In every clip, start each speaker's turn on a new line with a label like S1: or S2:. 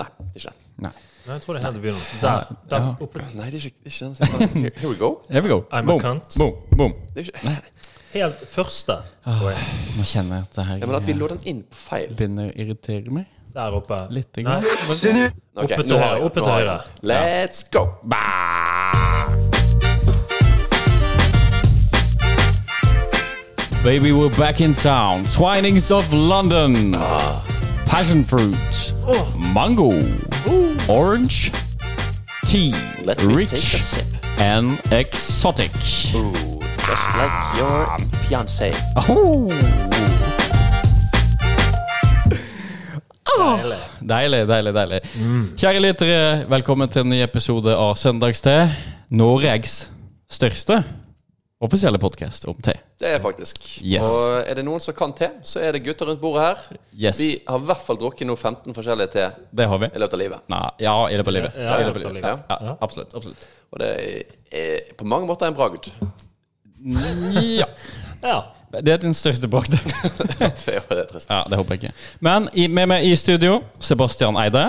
S1: Nei, ikke.
S2: Nei.
S3: Nei, jeg tror det er her det begynner. Der. der oppe.
S1: Nei, det er ikke, det er ikke den. Here we go.
S2: Here we go.
S3: I'm a
S2: boom,
S3: cunt.
S2: boom, boom.
S1: Det er ikke,
S3: Helt første.
S2: Ah.
S3: tror jeg.
S2: Nå kjenner jeg at det her
S1: ja, men at vi
S2: eh,
S1: lå den inn på feil.
S2: begynner å irritere meg
S3: Der oppe.
S2: litt.
S3: Nei.
S2: Grann.
S1: Ok, nå
S3: Oppe til
S1: har
S3: høyre.
S1: jeg-
S3: Oppe
S1: nå
S3: til
S1: har jeg.
S3: høyre.
S1: Let's go!
S2: Baby, we're back in town. Twinings of London.
S3: Ah.
S2: Passion fruit.
S3: Oh.
S2: Mango. Orange. Tea.
S1: Let me take a
S2: Rich
S1: sip.
S2: and exotic.
S1: Ooh, just like your fiancé.
S2: Oh.
S3: Deilig.
S2: Deilig, deilig, deilig. Kjære lyttere, velkommen til en ny episode av Søndagste. Norges største offisielle podkast om te.
S1: Det er faktisk.
S2: Yes.
S1: Og er det noen som kan te, så er det gutter rundt bordet her.
S2: Yes.
S1: Vi har i hvert fall drukket nå 15 forskjellige te
S2: Det har vi.
S1: i løpet av livet.
S2: Nei, ja, i løpet av livet.
S3: Ja,
S2: I løpet av
S3: i løpet av
S2: livet.
S3: livet.
S2: Ja, ja, absolutt. absolutt.
S1: Og det er på mange måter en bragd.
S2: Ja.
S3: Ja.
S2: Det er din største bragd.
S1: Det er jo det trist.
S2: Ja, det håper jeg ikke. Men i, med meg i studio, Sebastian Eide.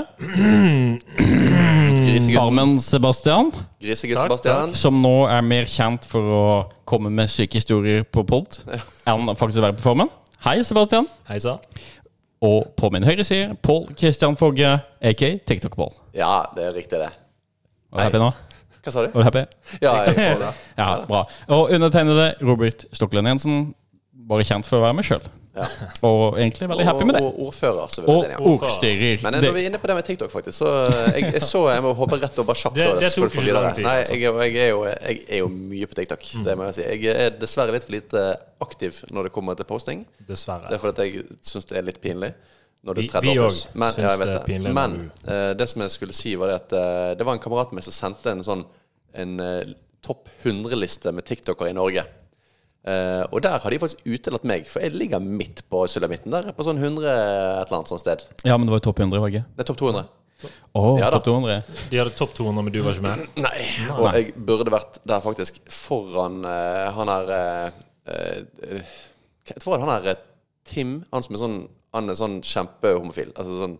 S1: Grisegutt,
S2: Farmen Sebastian,
S1: grisegutt
S3: Takk,
S1: Sebastian.
S2: som nå er mer kjent for å komme med syke historier på pod enn faktisk å være på Farmen. Hei, Sebastian.
S3: Hei sann.
S2: Og på min høyre side, Pål Christian Fogge, aka TikTok-Pål.
S1: Ja, det er riktig, det.
S2: Var du happy nå?
S1: Hva sa du?
S2: Var du happy?
S1: Ja, jeg får det.
S2: Ja, bra. Og undertegnede Robert Stoklen Jensen. Bare kjent for å være meg sjøl.
S1: Ja.
S2: Og egentlig veldig happy med det.
S1: Og, og ordfører, så vil jeg
S2: Og
S1: det. Ja.
S2: ordstyrer.
S1: Men eh, når vi
S2: Det,
S1: er inne på det med TikTok, faktisk, så eh, jeg, jeg så Jeg må hoppe rett over kjapt.
S3: Det-
S1: over
S3: det
S1: så skal
S3: tok
S1: du få
S3: ikke
S1: videre.
S3: lang tid,
S1: Nei,
S3: altså. Mm.
S1: jeg, er jo- jeg, er jo, jeg er jo mye på TikTok, det må jeg si. Jeg er dessverre litt for lite aktiv når det kommer til posting. Det
S3: Dessverre.
S1: er fordi at jeg syns det er litt pinlig. Når du
S3: Vi-
S1: er 30
S3: vi
S1: år
S3: òg
S1: pluss. Men,
S3: syns
S1: ja, jeg vet
S3: det er pinlig
S1: det.
S3: når
S1: Men eh, det som jeg skulle si, var det at eh, det var en kamerat av meg som sendte en sånn en eh, topp 100-liste med tiktokere i Norge. Eh, og der har de faktisk utelatt meg, for jeg ligger midt på sulamitten der. På sånn 100 et eller annet sånt sted.
S2: ja, men det var jo topp 100 i VG.
S1: Det er topp 200.
S2: Å,
S1: Ja da.
S2: topp 200.
S3: De hadde topp 200, men du var ikke med.
S1: Nei. Og jeg burde vært der faktisk foran eh, han her eh, eh, Hva hva var det han her eh, Tim? Han som er sånn Han er sånn kjempehomofil. Altså sånn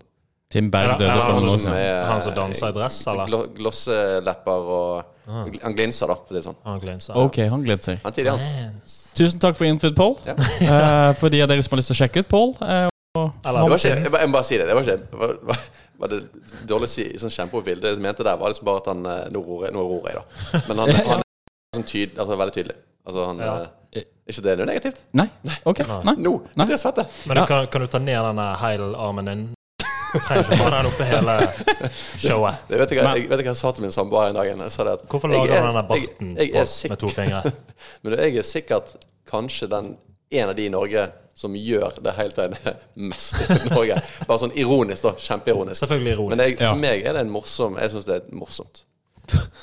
S2: Tim Berg
S3: Er det- er
S2: døde
S3: det
S2: for
S3: han
S2: noen år
S3: som-
S2: siden.
S1: altså, er-
S3: Han som danser i dress, eller?
S1: glo glosselepper og Han glinser, da, for å si det sånn.
S3: Han glinser.
S2: Ok, han gleder seg.
S1: Han tidlig, han.
S3: Dance.
S2: Tusen takk for input, Pål.
S1: Ja.
S2: Eh, for de av dere som har lyst til å sjekke ut Pål. eh, og-
S3: Eller-
S1: Det var ikke, jeg, bare, jeg må bare si det. Det var ikke var, var, var det dårlig å si sånn kjempehomofil. Det jeg mente der, var liksom bare at han eh, Nå ror jeg, nå ror jeg da. Men han, han er sånn tyd, altså, veldig tydelig. Altså, han
S3: Ja.
S1: eh, Ikke det, det er jo negativt.
S2: Nei? Ok. Nei.
S1: Nå!
S2: Nei.
S1: Det er svette.
S3: Men du kan, kan du ta ned denne heilarmen din? Trenger ikke å ha den oppe hele showet.
S1: Jeg vet, ikke,
S3: Men-
S1: jeg vet ikke hva jeg sa til min samboer en dag. Jeg sa det at
S3: Hvorfor
S1: jeg
S3: lager
S1: er-
S3: du denne barten
S1: jeg, jeg er
S3: på- med to
S1: sikkert-
S3: fingre?
S1: Men du, jeg er sikkert kanskje den en av de i Norge som gjør det hele tiden mest i Norge. Bare sånn ironisk, da. Kjempeironisk.
S3: Selvfølgelig
S1: Men
S3: ironisk.
S1: jeg,
S2: Ja.
S1: for meg er det en morsom Jeg syns det er morsomt.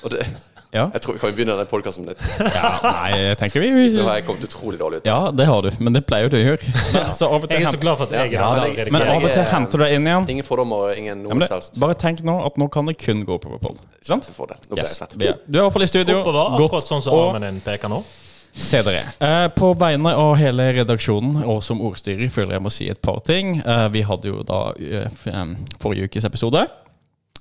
S1: Og det,
S2: Ja.
S1: jeg tror vi kan begynne den podkasten på nytt.
S2: ja. Nei, jeg tenker vi,
S1: Nå
S2: vi
S1: har jeg kommet utrolig dårlig ut.
S2: Ja, det har du, men det pleier du å gjøre. Men, så av og til
S3: Jeg er så
S2: hem-
S3: glad for at jeg er
S1: Ja,
S3: den som
S1: men jeg-
S2: men av
S3: redigerer.
S2: og til henter du deg inn igjen.
S1: Ingen fordommer og ingen
S2: Ja, men
S1: noe som helst.
S2: det, bare tenk nå at nå kan det kun gå oppover, Pål. Sant?
S1: Ikke for det. Nå ble jeg
S2: Yes.
S1: svett.
S2: Vi er- Du er i hvert fall i studio.
S3: Oppover,
S2: Godt
S3: akkurat sånn som
S2: å
S3: armen din peker nå.
S2: se dere. Eh, På vegne av hele redaksjonen og som ordstyrer føler jeg må si et par ting. Eh, Vi hadde jo da eh, f- em, forrige ukes episode.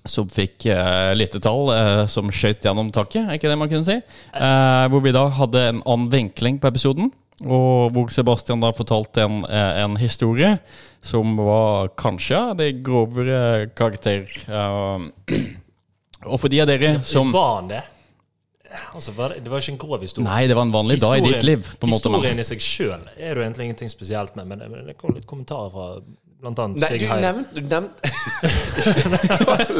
S2: som fikk eh, lyttetall eh, som skjøt gjennom taket, er ikke det man kunne si? Eh, hvor vi da hadde en annen vinkling på episoden, og hvor Sebastian da fortalte en, eh, en historie som var kanskje av det grovere karakter. Eh, og for de av dere som
S3: Var han det? Altså, var det, det var ikke en grov historie.
S2: Nei, det var en vanlig dag i ditt
S3: Historien-
S2: liv, på en måte. Men.
S3: Historien i seg sjøl er det jo egentlig ingenting spesielt med, men, men det kom litt kommentarer fra blant annet
S1: Nei,
S3: Sig
S1: du
S3: Heil.
S1: nevnte Du nevnte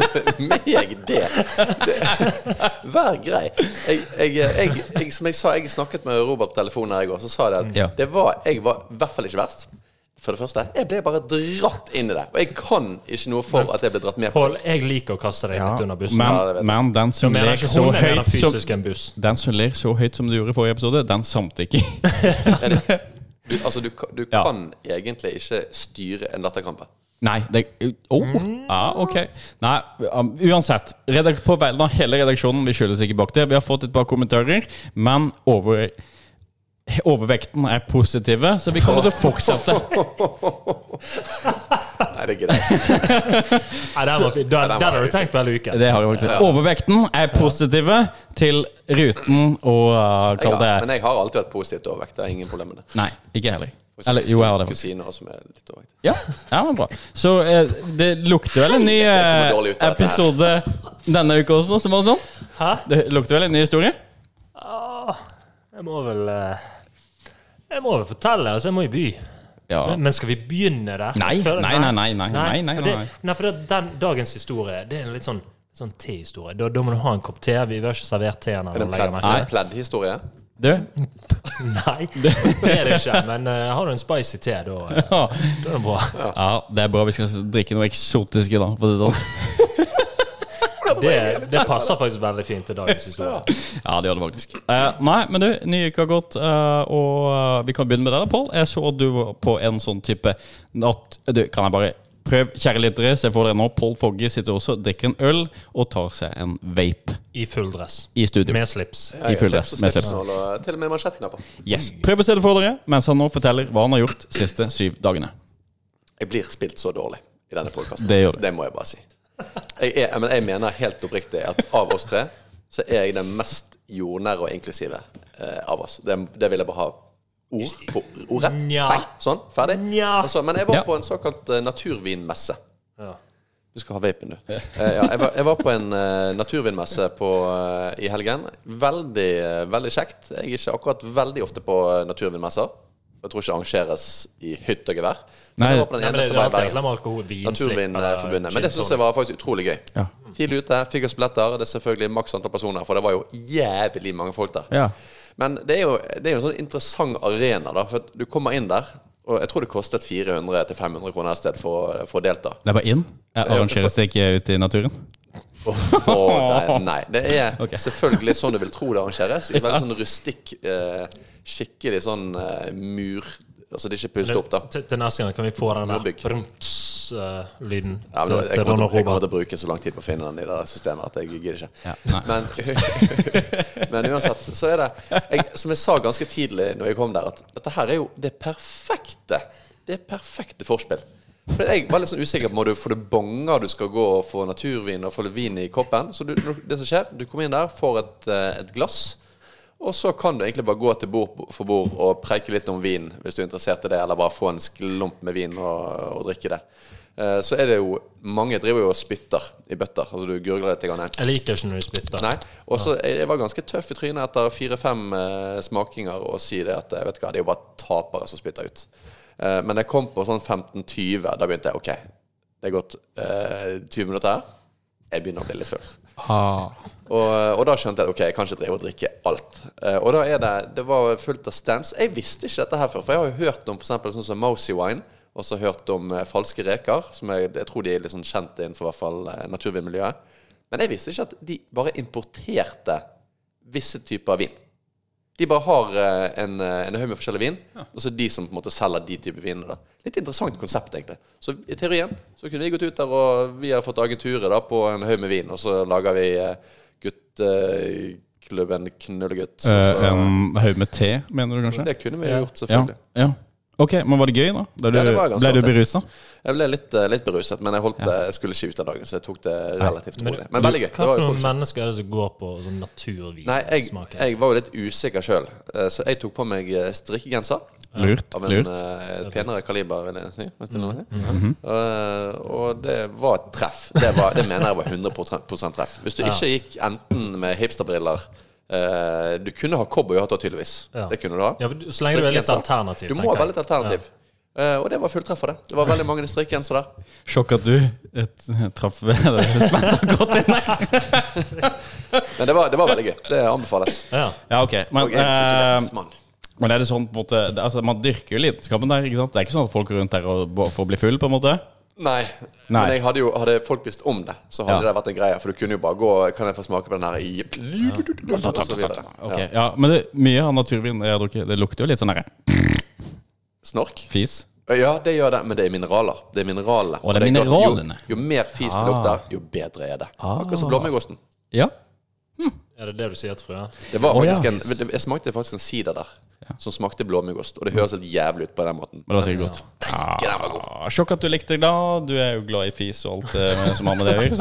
S1: Kall meg det. det! Vær grei. Jeg, jeg, jeg, jeg, som jeg sa, jeg snakket med Robert på telefonen her i går, så sa jeg det
S2: Ja.
S1: at det var, jeg var i hvert fall ikke verst. For det første, jeg ble bare dratt inn i det. Og jeg kan ikke noe for at jeg ble dratt med på det.
S3: Pål, jeg liker å kaste deg litt under bussen.
S1: Ja, det
S2: Men,
S1: vet jeg.
S2: men den som
S3: Men
S2: ler
S3: jeg mener ikke
S2: så
S3: hun, jeg mener
S2: høyt som
S3: fysisk en buss.
S2: den som ler så høyt som du gjorde i forrige episode, den samtykker.
S1: Du, altså, du, ka- du
S2: Ja.
S1: kan egentlig ikke styre en latterkrampe.
S2: Nei, det Å!
S3: Mm.
S2: ja, ok. Nei, um, uansett. Redak på vegne av hele redaksjonen, vi skyldes ikke bak det. Vi har fått et par kommentarer, men over, overvekten er positive, så vi kommer til å fortsette.
S1: Nei, det gidder jeg ikke.
S3: Nei, den var fin. Den,
S1: var
S3: den har du
S1: fin.
S3: tenkt på hele uken.
S2: Det har jeg faktisk.
S1: Ja.
S2: Overvekten er positive til ruten og uh,
S1: Jeg
S2: kall det
S1: har- Men jeg har alltid vært positivt overvekt. Det er ingen problem med det.
S2: Nei, ikke heller.
S1: Også
S2: Eller jo, jeg har det. faktisk.
S1: Kusiner også som er litt overvekt.
S2: Ja, ja men bra. Så eh, det lukter vel en ny
S1: kommer
S2: eh,
S1: dårlig ut av dette her.
S2: episode denne uka også, som var sånn.
S3: Hæ?
S2: Det lukter vel en ny historie?
S3: Åh, Jeg må vel eh, Jeg må vel fortelle, altså. Jeg må i by.
S2: Ja.
S3: Men- Men skal vi begynne der?
S2: Nei,
S3: Jeg føler-
S2: nei, nei, nei, nei, nei, nei,
S3: for det-
S2: nei.
S3: Nei, for det, den dagens historie, det er en litt sånn, sånn tehistorie. Da, da må du ha en kopp te. Vi vi har ikke servert
S1: Er
S3: teen
S1: det en
S3: ennå. legger jeg
S1: pledd- er
S3: merke
S1: det
S3: til.
S1: en pleddhistorie?
S2: Du?
S3: Nei, det er det ikke. Men eh, har du en spicy te, da, eh,
S2: Ja.
S3: da er det bra.
S2: ja, det er bra vi skal drikke noe eksotisk i dag. For å si det sånn.
S3: Det, det passer faktisk veldig fint til dagens historie.
S2: Ja, det gjør det faktisk. Eh, nei, men du, ny uke har gått, eh, og eh, vi kan begynne med deg, da, Pål. Jeg så at du var på en sånn type at Du, kan jeg bare prøve, kjære lyttere, se for dere nå, Pål Fogge sitter også, drikker en øl og tar seg en vape
S3: I full dress.
S2: i studio.
S3: Med slips.
S1: Ja, ja, slips
S2: full dress,
S1: og
S2: med
S1: slips
S2: slips.
S1: og alle- Til og med mansjettknapper.
S2: Yes. Prøv å se det for dere mens han nå forteller hva han har gjort siste syv dagene.
S1: Jeg blir spilt så dårlig i denne podkasten.
S2: Det gjør du.
S1: det må jeg bare si. Jeg, er, men jeg mener helt oppriktig at av oss tre, så er jeg den mest jordnære og inklusive eh, av oss. Det, det vil jeg bare ha ord på. Ordrett.
S3: Nja.
S1: Bang, sånn, ferdig.
S3: Nja.
S1: Altså, men jeg var
S2: Ja.
S1: på en såkalt eh, naturvinmesse.
S3: Ja.
S1: Du skal ha vapen, du. Eh, ja, jeg, var, jeg var på en eh, naturvinmesse på, eh, i helgen. Veldig, eh, veldig kjekt. Jeg er ikke akkurat veldig ofte på eh, naturvinmesser. Jeg tror ikke det arrangeres i hytt og gevær. Men
S2: Nei.
S1: jeg var på den
S3: Nei, men
S1: ene
S3: det
S1: som
S3: er
S1: var i
S3: alltid
S1: Bergen.
S3: reklame med alkohol, sånn. vinslipp
S1: Naturvinforbundet. eh, Men det syns jeg var faktisk utrolig gøy.
S2: Ja.
S1: Tidlig ute, fikk oss billetter. Det er selvfølgelig maks antall personer, for det var jo jævlig mange folk der.
S2: Ja.
S1: Men det er, jo, det er jo en sånn interessant arena, da. For at du kommer inn der, og jeg tror det kostet 400-500 kroner et sted for, for å delta.
S2: Det er bare inn. Jeg arrangeres det ikke ute i naturen?
S1: Åh, nei, nei. Det er
S2: Ok.
S1: selvfølgelig sånn du vil tro det arrangeres. I veldig sånn rustikk, eh, skikkelig sånn eh, mur Altså det er ikke pustet opp, da.
S3: Til, til neste gang kan vi få den der
S1: Nordbygg.
S3: brumts-lyden
S1: Ja, men jeg kommer
S3: til, til Ronald
S1: til, jeg kommer
S3: Robert.
S1: til å bruke så lang tid på å finne den i det der systemet at jeg gidder ikke.
S2: Ja, nei.
S1: men, men uansett, så er det jeg, Som jeg sa ganske tidlig når jeg kom der, at dette her er jo det perfekte Det perfekte forspill. For Jeg var litt sånn usikker på om du får det bonger du skal gå og få naturvin og få litt vin i koppen. Så du, det som skjer, du kommer inn der, får et, eh, et glass. Og så kan du egentlig bare gå til bord for bord og preike litt om vin, hvis du er interessert i det, eller bare få en sklump med vin og, og drikke det. Eh, Så er det jo Mange driver jo og spytter i bøtter. Altså du gurgler litt. Grann.
S3: Jeg liker ikke når du spytter.
S1: Nei. Og så jeg jeg var ganske tøff i trynet etter fire-fem eh, smakinger og si det at eh, vet du hva, det er jo bare tapere som spytter ut. Eh, men jeg kom på sånn 15-20. Da begynte jeg OK, det er gått eh, 20 minutter her. Jeg begynner å bli litt full. Ah, Og, eh, og da skjønte jeg at ok, jeg kan ikke drive og drikke alt. Eh, og da er det Det var fullt av stands. Jeg visste ikke dette her før, for jeg har jo hørt om f.eks. sånn som Mousy Wine. Og så hørt om eh, falske reker, som jeg, jeg tror de er litt sånn kjent innenfor i hvert fall eh, naturvinmiljøet. Men jeg visste ikke at de bare importerte visse typer vin. De bare har eh, en, eh, en haug med forskjellig vin, og så de som på en måte selger de typer viner. Da. Litt interessant konsept, egentlig. Så i teorien så kunne vi gått ut der, og vi har fått agenturet da, på en haug med vin, og så lager vi eh, gutteklubben Knullegutt. og
S2: Eh,
S1: så-
S2: en haug med te, mener du kanskje?
S1: det kunne vi gjort,
S2: Ja.
S1: selvfølgelig.
S2: ja. Ok, men var det gøy, da? Ble du,
S1: Ja, det var ganske
S2: ble du
S1: artig.
S2: berusa?
S1: Jeg ble litt, eh, litt beruset, men jeg, holdt, det- jeg skulle ikke ut den dagen, så jeg tok det relativt
S3: Men du-
S1: rolig. Men veldig gøy.
S3: Hva
S1: Det var
S3: for
S1: jo
S3: noen
S1: utrolig.
S3: mennesker er det som går på sånn naturvin?
S1: Nei, jeg,
S3: smaker?
S1: jeg var jo litt usikker sjøl, så jeg tok på meg eh, strikkegenser.
S2: Lurt.
S1: Av en
S2: lurt.
S1: eh, penere kaliber, vil jeg si. Hvis det er noe.
S2: Mm.
S3: Mhm.
S2: Mhm.
S1: Eh, og det var et treff. Det, var, det mener jeg var 100 treff. Hvis du ikke gikk enten med hipsterbriller eh, Du kunne ha cowboyhatt da, tydeligvis.
S3: Ja.
S1: Det kunne du ha.
S3: Ja, for du- så lenge du er litt
S1: Strikkegenser.
S3: alternativ,
S1: Du må
S3: tenker
S1: være
S3: jeg.
S1: litt alternativ. Eh, og det var fulltreff for det. Det var veldig mange strikkegensere der.
S2: Sjokk at du et, traff eller smelta godt inn der.
S1: Men det var, det var veldig gøy. Det anbefales.
S3: Ja.
S2: Ja, ok.
S1: Og
S2: Men,
S1: jeg er en
S2: eh,
S1: kulturelt mann.
S2: men er det sånn på en måte det- altså, Man dyrker jo lidenskapen der, ikke sant? Det er ikke sånn at folk går rundt der og b- får bli full, på en måte?
S1: Nei.
S2: Nei.
S1: Men jeg hadde jo hadde folk visst om det, så hadde
S2: Ja.
S1: det vært en greie. For du kunne jo bare gå Kan jeg få smake på den her i og så videre.
S2: Ok,
S1: Ja.
S2: ja. Men det, mye av naturvin jeg har drukket, det lukter jo litt sånn derre
S1: Snork?
S2: fis.
S1: Ja, det gjør det, men det er mineraler. Det er mineralene.
S2: Å, det er
S1: klart,
S2: mineralene. Ah.
S1: Jo, jo mer fis det lukter, jo bedre er det. Akkurat som blåmuggosten.
S2: Ja.
S3: Er det det du sier til frua?
S1: Det var
S2: Å, ja.
S1: faktisk en, jeg smakte faktisk en sider der som smakte blåmuggost. Og det høres helt jævlig ut på den måten.
S2: Men det var sikkert godt.
S1: Ikke den var god.
S2: Ah, sjokk at du likte det, da. Du er jo glad i fis og alt eh, som har med det å gjøre.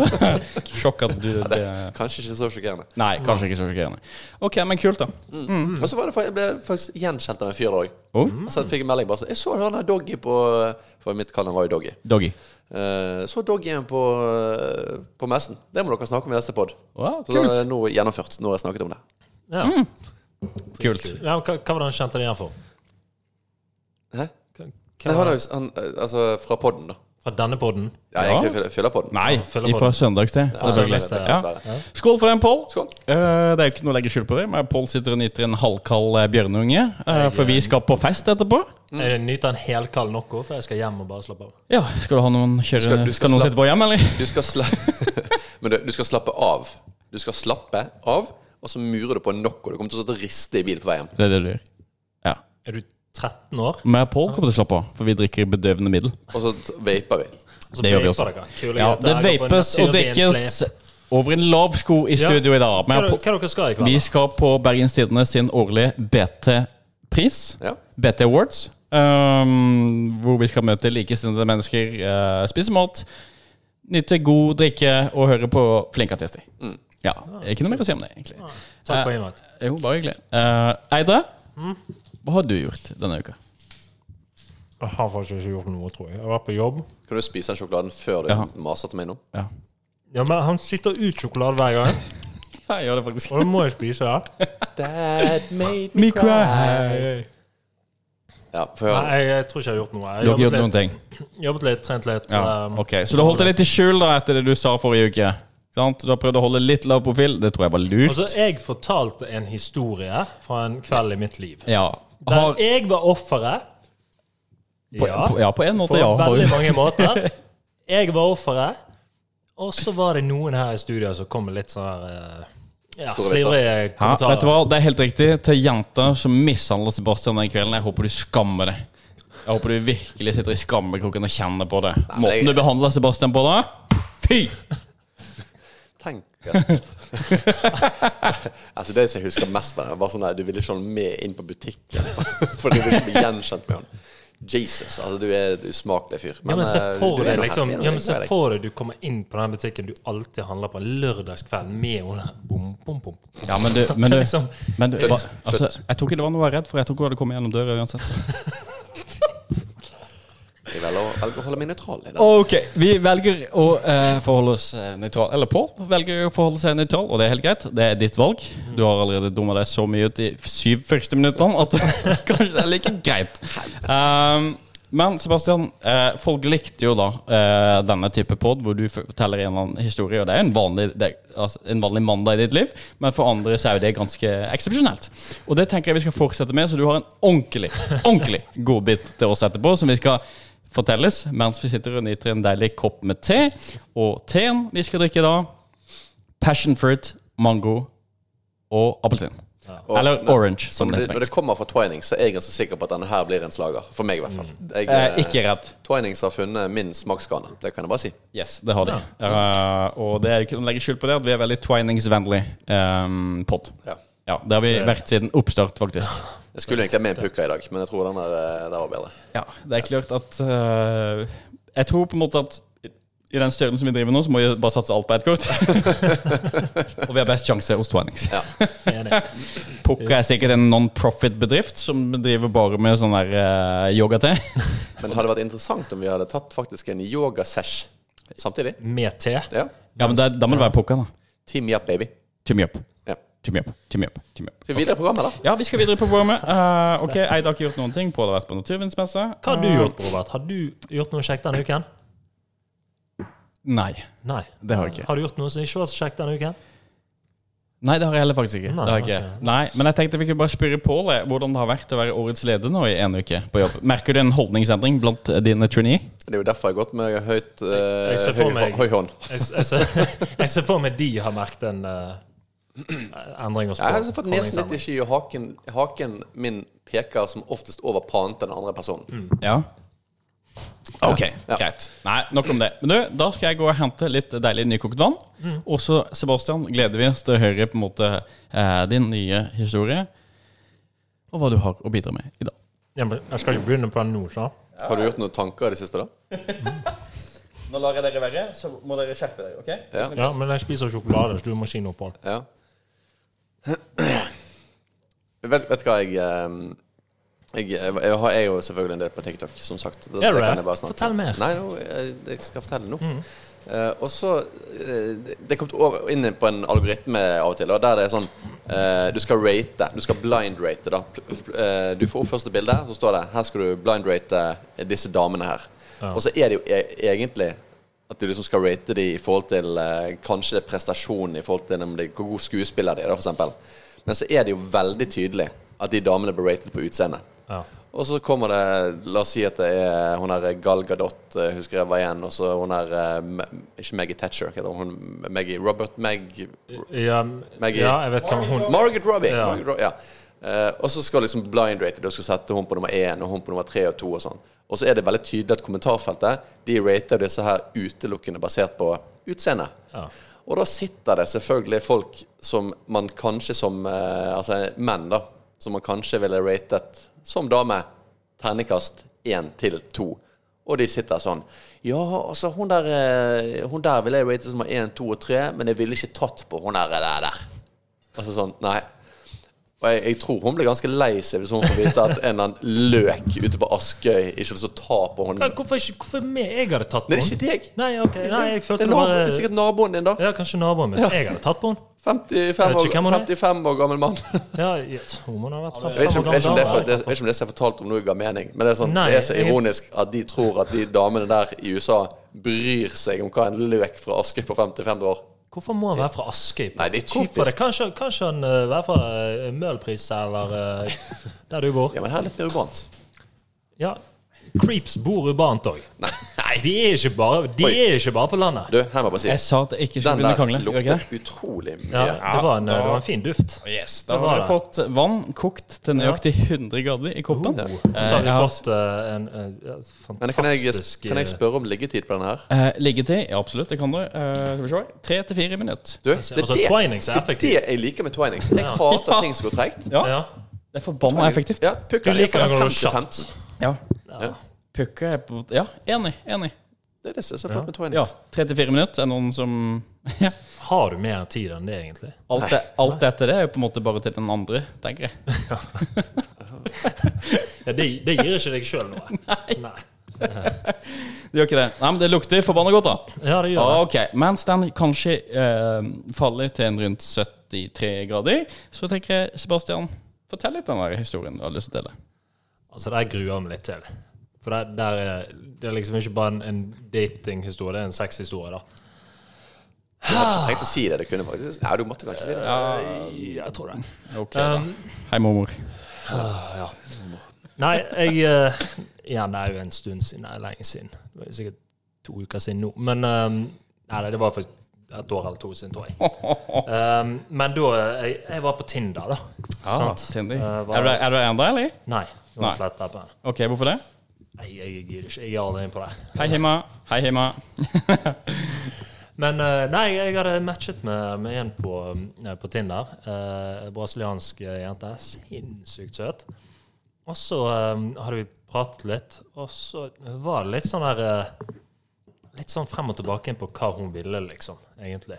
S2: så Sjokk at du det.
S1: Kanskje ikke så sjokkerende.
S2: Nei, kanskje ikke så sjokkerende. Ok, men kult, da.
S1: Og så var det, fa- jeg ble faktisk gjenkjent av en fyr der òg.
S2: Mm. Oh,
S1: Så jeg fikk en melding bare sånn Jeg så han der Doggy på For mitt kall han var jo Doggy.
S2: doggy.
S1: Eh, så Doggyen på, eh, på messen. Det må dere snakke om i neste pod.
S2: Wow,
S1: Så det
S2: kult.
S1: er nå gjennomført. Nå har jeg snakket om det.
S3: Ja.
S2: Mm. kult.
S3: ja men hva, hva var det han kjente det igjen for?
S1: Hæ?
S3: Hva,
S1: Nei,
S3: hva
S1: han,
S3: var
S1: er
S3: det?
S1: jo s- han, eh, altså fra podden, da.
S3: Fra denne poden?
S1: Ja,
S2: Ja.
S1: egentlig fyller- fyller podden.
S2: Nei,
S3: Følg på
S2: fra
S3: den.
S2: søndagssted.
S1: Ja,
S3: altså,
S1: det er det,
S2: selvfølgelig.
S1: det er
S2: Ja.
S1: dessverre.
S2: Skål for den, Pål.
S1: Skål.
S2: Eh, det er jo ikke noe å legge skjul på det, men Pål sitter og nyter en halvkald eh, bjørneunge. eh, for vi skal på fest etterpå.
S1: Mm.
S3: Jeg nyter en helkald Nocco, for jeg skal hjem og bare slappe av.
S2: Ja, Skal du ha noen
S1: skal-
S2: kjøre Skal,
S1: du skal
S2: noen
S1: slappe-
S2: sitte på hjem, eller?
S1: Du skal, sla Men du, du skal slappe av. Du skal slappe av, og så murer du på nok, og du kommer til å stå og riste i bil på veien.
S2: Det er det du gjør. Ja.
S3: Er du 13 år?
S2: Men Pål kommer til å slappe av, for vi drikker bedøvende middel.
S1: Og så t- vaper vi.
S3: Så
S2: Det gjør vi
S3: vaper
S2: også.
S3: dere. Kule
S2: Ja, det
S3: gutter. Jeg går på en
S2: vapes og
S3: naturlig
S2: drikkes
S3: slep.
S2: over en lav sko i
S3: Ja.
S2: studio i dag.
S3: Hva,
S2: Men
S3: hva
S2: på,
S3: dere skal i kveld?
S2: vi skal på Bergens Tidende sin årlige BT-pris.
S1: Ja.
S2: BT Awards. ehm, hvor vi skal møte likesinnede mennesker, eh, spise mat, nyte god drikke og høre på flinke artister. Ja, Ikke noe mer å si om det, egentlig.
S3: Takk for innvite.
S2: Jo, bare hyggelig. Eh, Eide, hva har du gjort denne uka?
S3: Jeg har faktisk ikke gjort noe, tror jeg. Jeg var på jobb.
S1: Kan du spise den sjokoladen før du
S2: Ja.
S1: maser til meg nå?
S2: Ja.
S3: Ja, men Han sitter ut sjokolade hver gang,
S2: Jeg gjør det faktisk.
S3: og da må jeg spise det.
S1: That made
S2: Me cry.
S1: Ja, få høre.
S3: Nei, jeg, jeg tror ikke jeg har gjort noe. Jeg
S2: Du har ikke gjort noen
S3: litt,
S2: ting?
S3: jobbet litt, trent litt.
S2: Ja,
S3: um,
S2: ok, Så du holdt det litt i skjul da etter det du sa forrige uke? Sant? Du har prøvd å holde litt lav profil? Det tror jeg var lurt.
S3: Altså, jeg fortalte en historie fra en kveld i mitt liv.
S2: Ja.
S3: Der
S2: Har,
S3: jeg var offeret.
S2: på,
S3: Ja,
S2: på, ja, på en
S3: på
S2: måte, ja.
S3: veldig mange måter. Jeg var offeret, og så var det noen her i studio som kom med litt sånn her eh, ja,
S1: Store vitser.
S3: slidrige
S2: Ja, vet du
S3: kommentarer.
S2: hva, Det er helt riktig. Til jenta som mishandlet Sebastian den kvelden, jeg håper du skammer deg. Jeg håper du virkelig sitter i skammekroken og kjenner på det.
S1: men jeg-
S2: Måten du behandler Sebastian på da? Fy!
S1: Tenk at- Altså Det som jeg husker mest med det, var sånn der, du ville ikke ha han med inn på butikken. For du ville ikke bli gjenkjent med han. Jesus, altså du er en usmakelig fyr.
S3: Ja, men se
S1: eh, du-
S3: for
S1: du er
S3: deg
S1: noe
S3: liksom,
S1: herlig,
S3: ja, men se
S1: det er
S3: for deg du kommer inn på den butikken du alltid handler på en lørdagskveld med henne her. Bom, bom, bom.
S2: Ja, men du, men du,
S3: Liksom.
S2: men du hva,
S1: Slutt,
S2: altså, Jeg tror ikke det var noe å være redd for. Jeg tror ikke hun hadde kommet gjennom døra uansett.
S1: deg. Jeg velger å- velger å holde meg nøytral i det.
S2: Ok, vi velger å eh, forholde oss eh, nøytral Eller Pål velger å forholde seg nøytral, og det er helt greit. Det er ditt valg. Du har allerede dumma deg så mye ut i syv første minuttene at kanskje det er like greit. Um, men Sebastian, eh, folk likte jo da eh, denne type pod hvor du forteller en eller annen historie. Og det er en vanlig, det er, altså, en vanlig mandag i ditt liv, men for andre så er jo det ganske eksepsjonelt. Og det tenker jeg vi skal fortsette med, så du har en ordentlig, ordentlig godbit til oss etterpå som vi skal fortelles mens vi sitter og nyter en deilig kopp med te. Og teen vi skal drikke da, passion fruit, mango og appelsin.
S1: Og-
S2: Eller
S1: men-
S2: orange, som det
S1: Når det,
S2: heter. på
S1: når det
S2: engelsk.
S1: kommer fra Twining, så er jeg ganske sikker på at denne her blir en slager. For meg, i hvert fall.
S3: Mm.
S1: Jeg,
S2: Eh, ikke redd.
S1: Twinings har funnet min smaksgane. Det kan jeg bare si.
S2: Yes, det har de. Eh, og det er jo ikke noe å legge skjul på det, at vi er veldig twiningsvennlig um, pod.
S1: Ja.
S2: Ja, det har vi vært siden oppstart, faktisk.
S1: Jeg skulle egentlig ha med en pukka i dag, men jeg tror den der, eh, der var bedre.
S2: Ja, det er klart at eh, Jeg tror på en måte at i- i den størrelsen vi driver nå, så må vi bare satse alt på ett kort. og vi har best sjanse hos Twinings.
S3: Enig.
S2: Pukka er sikkert en non-profit-bedrift som driver bare med sånn der eh, yoga-te.
S1: Men det hadde vært interessant om vi hadde tatt faktisk en yogasesh samtidig.
S3: Med te.
S1: Ja.
S2: Ja, men da, da må det være pukka, da.
S1: Team Yap, baby.
S2: Team up.
S1: Ja.
S2: Team up. Team up. Team up.
S1: Skal vi videre i programmet, da?
S2: Ja, vi skal videre på programmet. Eh, ok, Eid har ikke gjort noen ting. Pål har vært på naturvitenskapsmesse.
S3: Hva har du gjort, Robert? Har du gjort noe kjekt denne uken?
S2: Eh, Nei,
S3: Nei.
S2: det har jeg ikke.
S3: Har du gjort noe som ikke var så kjekt denne uken?
S2: Nei, det har jeg heller faktisk ikke.
S3: Nei,
S2: det har jeg ikke. Nei, Men jeg tenkte vi kunne bare spørre Pål eh, hvordan det har vært å være årets leder nå i en uke på jobb. Merker du en holdningsendring blant eh, dine trainee?
S1: Det er jo derfor jeg har gått med høyt uh,
S3: Jeg ser for meg-
S1: høy hånd.
S3: Jeg, s- jeg, ser, jeg ser for meg de har merket en eh, endring og
S1: Jeg har altså fått nesen litt i sky, og
S3: Mm.
S1: haken, haken min peker som oftest over panen til den andre personen.
S2: Ja. Ok,
S1: Ja.
S2: greit. Nei, nok om det. Men du, da skal jeg gå og hente litt deilig nykokt vann.
S1: Mm.
S2: Og så, Sebastian, gleder vi oss til å høre på en måte eh, din nye historie. Og hva du har å bidra med i dag.
S3: Ja, men Jeg skal ikke begynne på den nå, så.
S1: Har du gjort noen tanker i det siste, da?
S2: Nå lar jeg dere være, så må dere skjerpe dere. ok?
S1: Ja.
S3: Ja, men jeg spiser sjokolade, så du må si noe på det.
S1: Ja. vet, vet du hva, jeg eh, jeg, jeg, har- jeg er jo selvfølgelig en del på TikTok, som sagt. Det,
S3: Er du det?
S1: kan jeg bare snakke om.
S3: Fortell mer. Mm.
S1: Nei, nå, jeg, jeg skal fortelle nå. Eh, og så eh, Det det er kommet over, inn på en algoritme av og til, da, der det er sånn eh, Du skal rate. Du skal blind-rate, da. Pl- pl- eh, du får opp første bilde, så står det Her skal du blind-rate disse damene her.
S3: Ja.
S1: Og så er det jo e egentlig at du liksom skal rate de i forhold til eh, kanskje prestasjonen, i forhold til om de, hvor god skuespiller de er, da, for eksempel. Men så er det jo veldig tydelig at de damene blir ratet på utseendet.
S3: Ja.
S1: Og så kommer det La oss si at det er hun her Gal Gadot, eh, husker jeg var igjen. Og så hun her eh, Me- Ikke Maggie Thatcher, hva heter hun? Maggie Robert Meg...
S3: Ja,
S1: Maggie.
S3: um, ja, jeg vet hvem hun
S1: Margaret Robbie!
S3: Ja.
S1: Margaret Robbie, ja. Eh, og så skal liksom blind rate Du skal sette hun på nummer én og hun på nummer tre og to og sånn. Og så er det veldig tydelig at kommentarfeltet De rater disse her utelukkende basert på utseende.
S3: Ja.
S1: Og da sitter det selvfølgelig folk som man kanskje som eh, Altså menn, da. Som man kanskje ville ratet som dame. Ternekast én til to. Og de sitter sånn Ja, altså, hun der, eh, hun der ville jeg rate som én, to og tre, men jeg ville ikke tatt på hun der eh, der. der. Altså sånn Nei. Og jeg, jeg tror hun blir ganske lei seg hvis hun får vite at en eller annen løk ute på Askøy ikke vil så ta på
S3: Hva-
S1: henne.
S3: Hvorfor, ikke- hvorfor meg? Jeg hadde tatt på
S1: Nei, det er
S3: henne.
S1: ikke deg.
S3: Nei, ok, nei, jeg
S1: Det
S3: følte
S1: er,
S3: det
S1: naboen, det er
S3: bare
S1: sikkert naboen din, da.
S3: Ja, kanskje naboen min.
S1: Ja.
S3: Jeg hadde tatt på henne.
S1: 55
S3: Jeg vet
S1: år,
S3: ikke hvem hun er.
S1: 55 år gammel mann. Jeg
S3: Ja, ja, hun må ha vært fem
S1: vet ikke om, jeg vet ikke
S3: fem
S1: om, det, er for, det, jeg vet
S3: gammel
S1: ikke om det som er fortalt om noe ga mening, men det er, sånn,
S3: Nei,
S1: det er så
S3: jeg-
S1: ironisk at de tror at de damene der i USA bryr seg om hva en løk fra Askøy på 55 år
S3: Hvorfor må han være fra Askøy?
S1: Nei, det er
S3: Hvorfor det?
S1: typisk.
S3: Kanskje, kanskje han eh, være fra eh, Møhlpris eller eh, der du bor?
S1: Ja, men her er litt mer urbant.
S3: Ja. Creeps bor urbant òg. Nei, de er ikke bare, de
S1: Oi.
S3: er ikke bare på landet.
S1: Du, her må jeg bare si
S2: Jeg sa at jeg ikke
S1: Den
S2: skulle begynne å
S1: der
S2: krangle. gjorde jeg ikke det?
S1: luktet utrolig
S3: Ja,
S1: mye.
S3: det, var en, eh, det var en fin duft.
S2: Yes, da
S3: Det
S2: har
S3: var
S2: vi fått vann kokt til nøyaktig 100 grader i koppen.
S1: Oh,
S3: Og Så har vi
S2: Ja.
S3: fått eh, en, eh, ja,
S1: Men kan jeg,
S3: fantastisk eh,
S1: kan jeg spørre om liggetid på denne her?
S2: Eh, liggetid? Ja, absolutt. Det kan du. Eh, skal vi se. Tre til fire minutter.
S1: Du, det
S3: eh,
S1: er
S3: Altså,
S1: det,
S3: twinings er
S1: det, er det
S3: effektivt.
S1: jeg liker med twinings. Jeg hater at ting som går tregt.
S2: Ja,
S3: Ja.
S2: Det er forbanna effektivt.
S1: Ja, pukker
S3: Jeg liker
S1: liker
S3: det når det
S1: 50
S3: går kjapt.
S1: 15.
S2: Ja.
S1: Ja.
S2: Pukka er på Ja, enig. Enig.
S1: Det er det som er så flott med
S2: Ja,
S1: twinings.
S2: tre til fire minutter er noen som ja.
S3: Har du mer tid enn det, egentlig?
S2: alt, det, alt etter det er jo på en måte bare til den andre, tenker jeg.
S3: Ja, det, det gir ikke deg sjøl noe. Nei.
S2: Det gjør ikke det. Nei, men det lukter forbanna godt, da.
S3: Ja, det gjør det.
S2: Ok, Mens den kanskje eh, faller til en rundt 73 grader, så tenker jeg Sebastian, fortell litt den der historien du har lyst til å dele.
S3: Altså, det her gruer jeg meg litt til. For det, der er, det er liksom ikke bare en, en datinghistorie, det er en sexhistorie, da.
S1: Du hadde ikke tenkt å si det. Du kunne faktisk Ja, du måtte kanskje si det.
S3: Eh, Jeg tror det.
S2: Ok,
S3: Um,
S2: da. Eh, Hei, mormor.
S3: Nei, jeg eh, Ja, det er jo en stund siden. Det er lenge siden. Det var sikkert to uker siden nå. Men eh, Nei, det var faktisk et år eller to siden, tror jeg. Eh, men da eh, jeg, jeg var på Tinder, da.
S2: Ah,
S3: Sant?
S2: Tinder.
S3: Eh, var-
S2: Er du, er du enda, eller?
S3: Nei. Det var
S2: Nei.
S3: en slett appen.
S2: Ok, hvorfor det?
S3: Nei, jeg gidder ikke. Jeg er aldri inne på det.
S2: Hei, Hima. Hei, Hima.
S3: Men eh, nei, jeg hadde matchet med, med en på, eh, på Tinder. eh, brasiliansk eh, jente. Sinnssykt søt. Og så eh, hadde vi pratet litt, og så var det litt sånn der eh, Litt sånn frem og tilbake inn på hva hun ville, liksom, egentlig.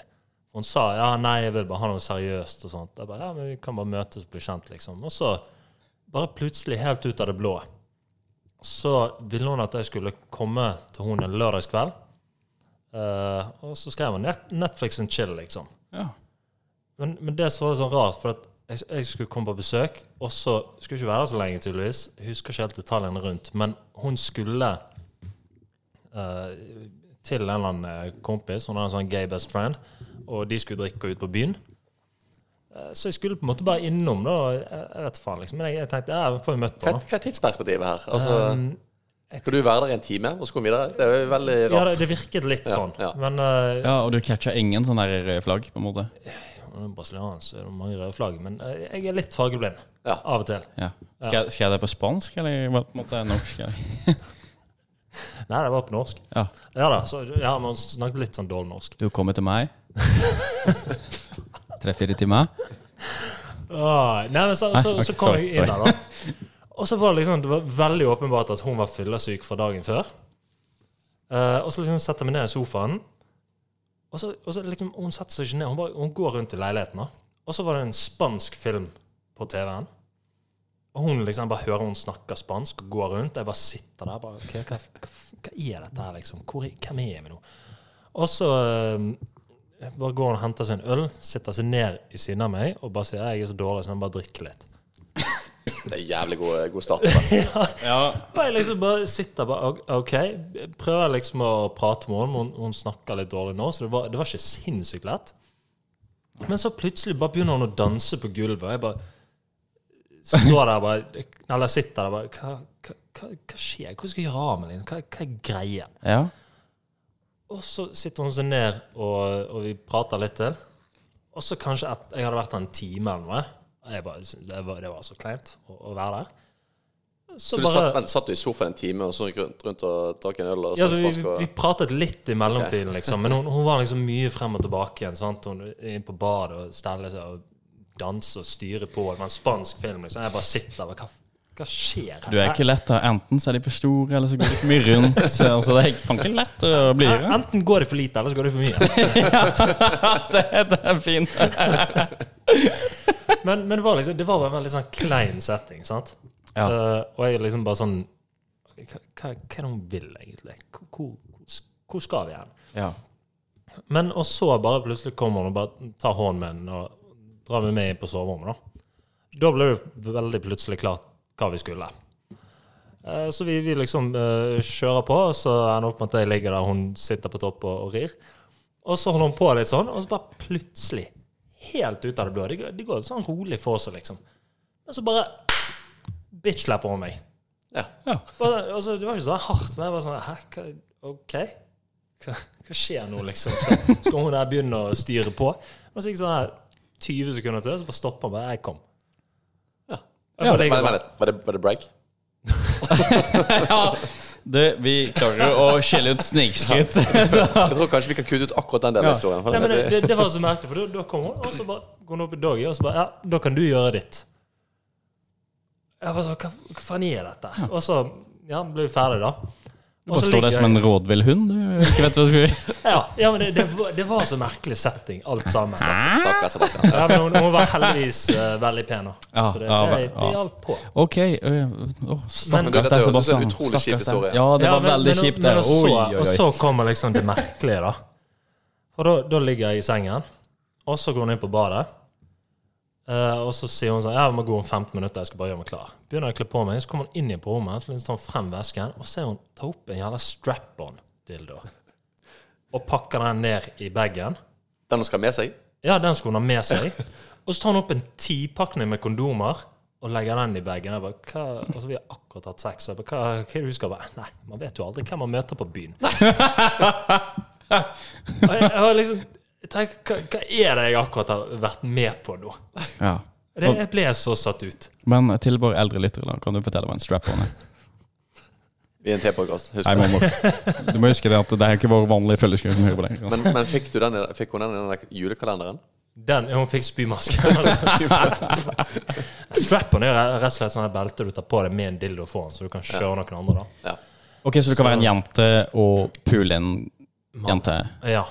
S3: Hun sa ja, nei, jeg vil bare ha noe seriøst og sånt. Jeg bare, ja, men vi kan bare møtes og bli kjent, liksom. Og så bare plutselig, helt ut av det blå, så ville hun at jeg skulle komme til henne en lørdagskveld. Eh, og så skrev han net Netflix and chill, liksom.
S2: Ja.
S3: Men, men det som var litt sånn rart, for at jeg, jeg skulle komme på besøk, og så skulle jeg ikke være der så lenge, tydeligvis. Jeg husker ikke helt detaljene rundt. Men hun skulle eh, til en eller annen eh, kompis, hun har en sånn gay best friend, og de skulle drikke ut på byen. Eh, Så jeg skulle på en måte bare innom, da. og Jeg, jeg vet faen, liksom. Men jeg, jeg tenkte ja, får vi møtt
S1: Hva,
S3: på, da.
S1: hva er tidsperspektivet her? Altså,
S3: Um,
S1: skal du være der i en time, og så komme videre? Det er jo veldig
S3: Ja, det,
S1: rart.
S3: det virket litt sånn.
S1: ja.
S3: Men eh,
S2: ja, og du catcha ingen sånne der røde flagg, på en måte?
S3: Når det er brasiliansk, så er det mange røde flagg. Men eh, jeg er litt fargeblind
S1: Ja.
S3: av og til.
S2: Ja. Skal, jeg- skal jeg det på spansk, eller hva- på en måte norsk? Eller?
S3: Nei, det var på norsk.
S2: Ja.
S3: Ja da, så ja, man snakket litt sånn dårlig norsk.
S2: Du kommer til meg. Tre-fire timer.
S3: Ah, nei, men så, så,
S2: Nei,
S3: så
S2: ok,
S3: kom
S2: sorry,
S3: jeg inn der, da. Og så var det liksom Det var veldig åpenbart at hun var fyllesyk fra dagen før. Eh, og så liksom setter jeg meg ned i sofaen, og så, og så liksom Hun setter seg ikke ned, hun, bare, hun går rundt i leiligheten, da. Og så var det en spansk film på TV-en. Og hun liksom bare hører hun snakker spansk og går rundt. Jeg bare sitter der bare, ok, hva, hva, hva er dette her, liksom? Hvor, er- hvem er jeg med nå? Og så eh, bare går hun og henter seg en øl, sitter seg ned i siden av meg og bare sier jeg er så dårlig, så jeg må bare drikke litt.
S1: Det er en jævlig god, god start. Altså, på det.
S3: Og jeg liksom bare sitter bare ok, OK. Prøver liksom å prate med henne, men hun, hun snakker litt dårlig nå, så det var, det var ikke sinnssykt lett. Men så plutselig bare begynner hun å danse på gulvet, og jeg bare står der bare Eller sitter der bare Hva, hva, hva, hva skjer? Hva skal jeg gjøre av meg? liksom? Hva, hva er greia?
S2: Ja.
S3: Og så sitter hun seg ned, og, og vi prater litt til. Og så kanskje et, jeg hadde vært der en time eller noe. Og Jeg bare, syntes det, var, det var så kleint å, å være der.
S1: Så du satt, vent, satt du i sofaen en time og så gikk rundt, rundt og drakk en øl? og
S3: ja,
S1: så
S3: altså, vi,
S1: spansk
S3: vi- vi
S1: og...
S3: pratet litt i mellomtiden, liksom. Men hun, hun var liksom mye frem og tilbake igjen. sant? Hun er inn på badet og steller seg og danser og styrer på. Det var en spansk film, liksom. Jeg bare sitter der. Hva, hva skjer her?
S2: Du er ikke lett, da. Enten så er de for store, eller så går de for mye rundt. Så altså, det er ikke- faen ikke lett å bli
S3: Her-
S2: rund.
S3: Enten går det for lite, eller så går det for mye.
S2: det, det er fint.
S3: Men, men det, var liksom, det var bare en veldig sånn klein setting, sant?
S2: Ja.
S3: Eh, og jeg er liksom bare sånn Hva, hva, hva er det hun vil, egentlig? Hvor, hvor, hvor skal vi hen?
S2: Ja.
S3: Men og så bare plutselig kommer hun og bare tar hånden min og drar meg med inn på soverommet. Da Da ble det veldig plutselig klart hva vi skulle. Eh, Så vi, vi liksom eh, kjører på, og så ender det opp med at jeg ligger der, hun sitter på topp og, og rir. Og så holder hun på litt sånn, og så bare plutselig, helt ut av det blå Det går, det går sånn rolig for seg, liksom. Men så bare bitch-slapper hun meg.
S1: Ja.
S3: Bare, altså, det var ikke så hardt, men jeg var sånn Hæ, hva, OK? Hva, hva skjer nå, liksom? Skal, skal hun der begynne å styre på? Og så gikk det sånn her 20 sekunder til, så bare stopper han bare. Jeg kom.
S1: Ja.
S3: Jeg
S2: Ja,
S3: bare
S1: Vent,
S3: ligger
S1: vent
S3: bare-
S1: litt. Var det, var det brag?
S2: ja. Du, vi klarer å skille ut snikskryt. Så-
S1: Jeg tror kanskje vi kan kutte ut akkurat den delen av historien. For
S3: Nei, men det,
S1: det,
S3: det, det var så merkelig, for da, da kom hun, og så bare går hun opp i doggy, og så bare Ja, da kan du gjøre ditt. Jeg bare sånn Hva, hva faen er dette? Og så ja, ble vi ferdig da.
S2: Du bare står der som en rådvill hund. Du ikke vet hva du skal gjøre.
S3: ja, ja, men det, det, var, det var så merkelig setting, alt sammen.
S1: Stakkars Sebastian.
S3: Ja, men hun, hun var heldigvis eh, veldig pen, da.
S2: Ja,
S3: så det,
S2: ja,
S3: det,
S2: ja.
S3: det hjalp på.
S2: Ok. øh, åh,
S1: Men du,
S2: Stakkars
S1: dette
S2: deg,
S1: høres ut som
S2: Sebastian.
S1: en utrolig kjip
S2: Stakkars deg.
S1: historie.
S2: Ja, det var
S3: Ja, men-
S2: veldig
S3: men-
S2: kjipt.
S3: men
S2: det.
S3: og så-
S2: Oi, oi,
S3: Og
S2: oi.
S3: så kommer liksom det merkelige, da. For da, da ligger jeg i sengen, og så går hun inn på badet. Eh, og så sier hun sånn Ja, vi må gå om 15 minutter, jeg skal bare gjøre meg klar. Begynner jeg å kle på meg, så kommer hun inn igjen på rommet, så liksom tar hun frem vesken, og ser hun ta opp en jævla strap-on-dildo. Og pakker den ned i bagen.
S1: Den hun skal ha med seg?
S3: Ja, den skulle hun ha med seg. Og så tar hun opp en tipakning med kondomer og legger den i bagen. Jeg bare, hva? Og så vi har akkurat hatt sex. og Jeg bare, hva, hva er det du skal bare? Nei, man vet jo aldri hvem man møter på byen. Og jeg, jeg var liksom, jeg tenker, hva, hva er det jeg akkurat har vært med på nå?
S2: Ja.
S3: Det, jeg ble så satt ut.
S2: Men til våre eldre lyttere, da, kan du fortelle hva en strap-on er?
S1: I en T-podkast.
S2: Nei,
S1: Husk det.
S2: mamma. Du må huske det at det er ikke våre vanlige følgeskuere som hører på deg.
S1: Men, men fikk, du den, i- fikk hun den i den der julekalenderen?
S3: Den, hun fikk altså. spymaske. Strap-on er jo rett og slett sånn her belte du tar på deg med en dildo foran, så du kan kjøre noen andre da.
S1: Ja.
S2: Ok, Så du kan være en jente og pule en jente?
S3: Ja.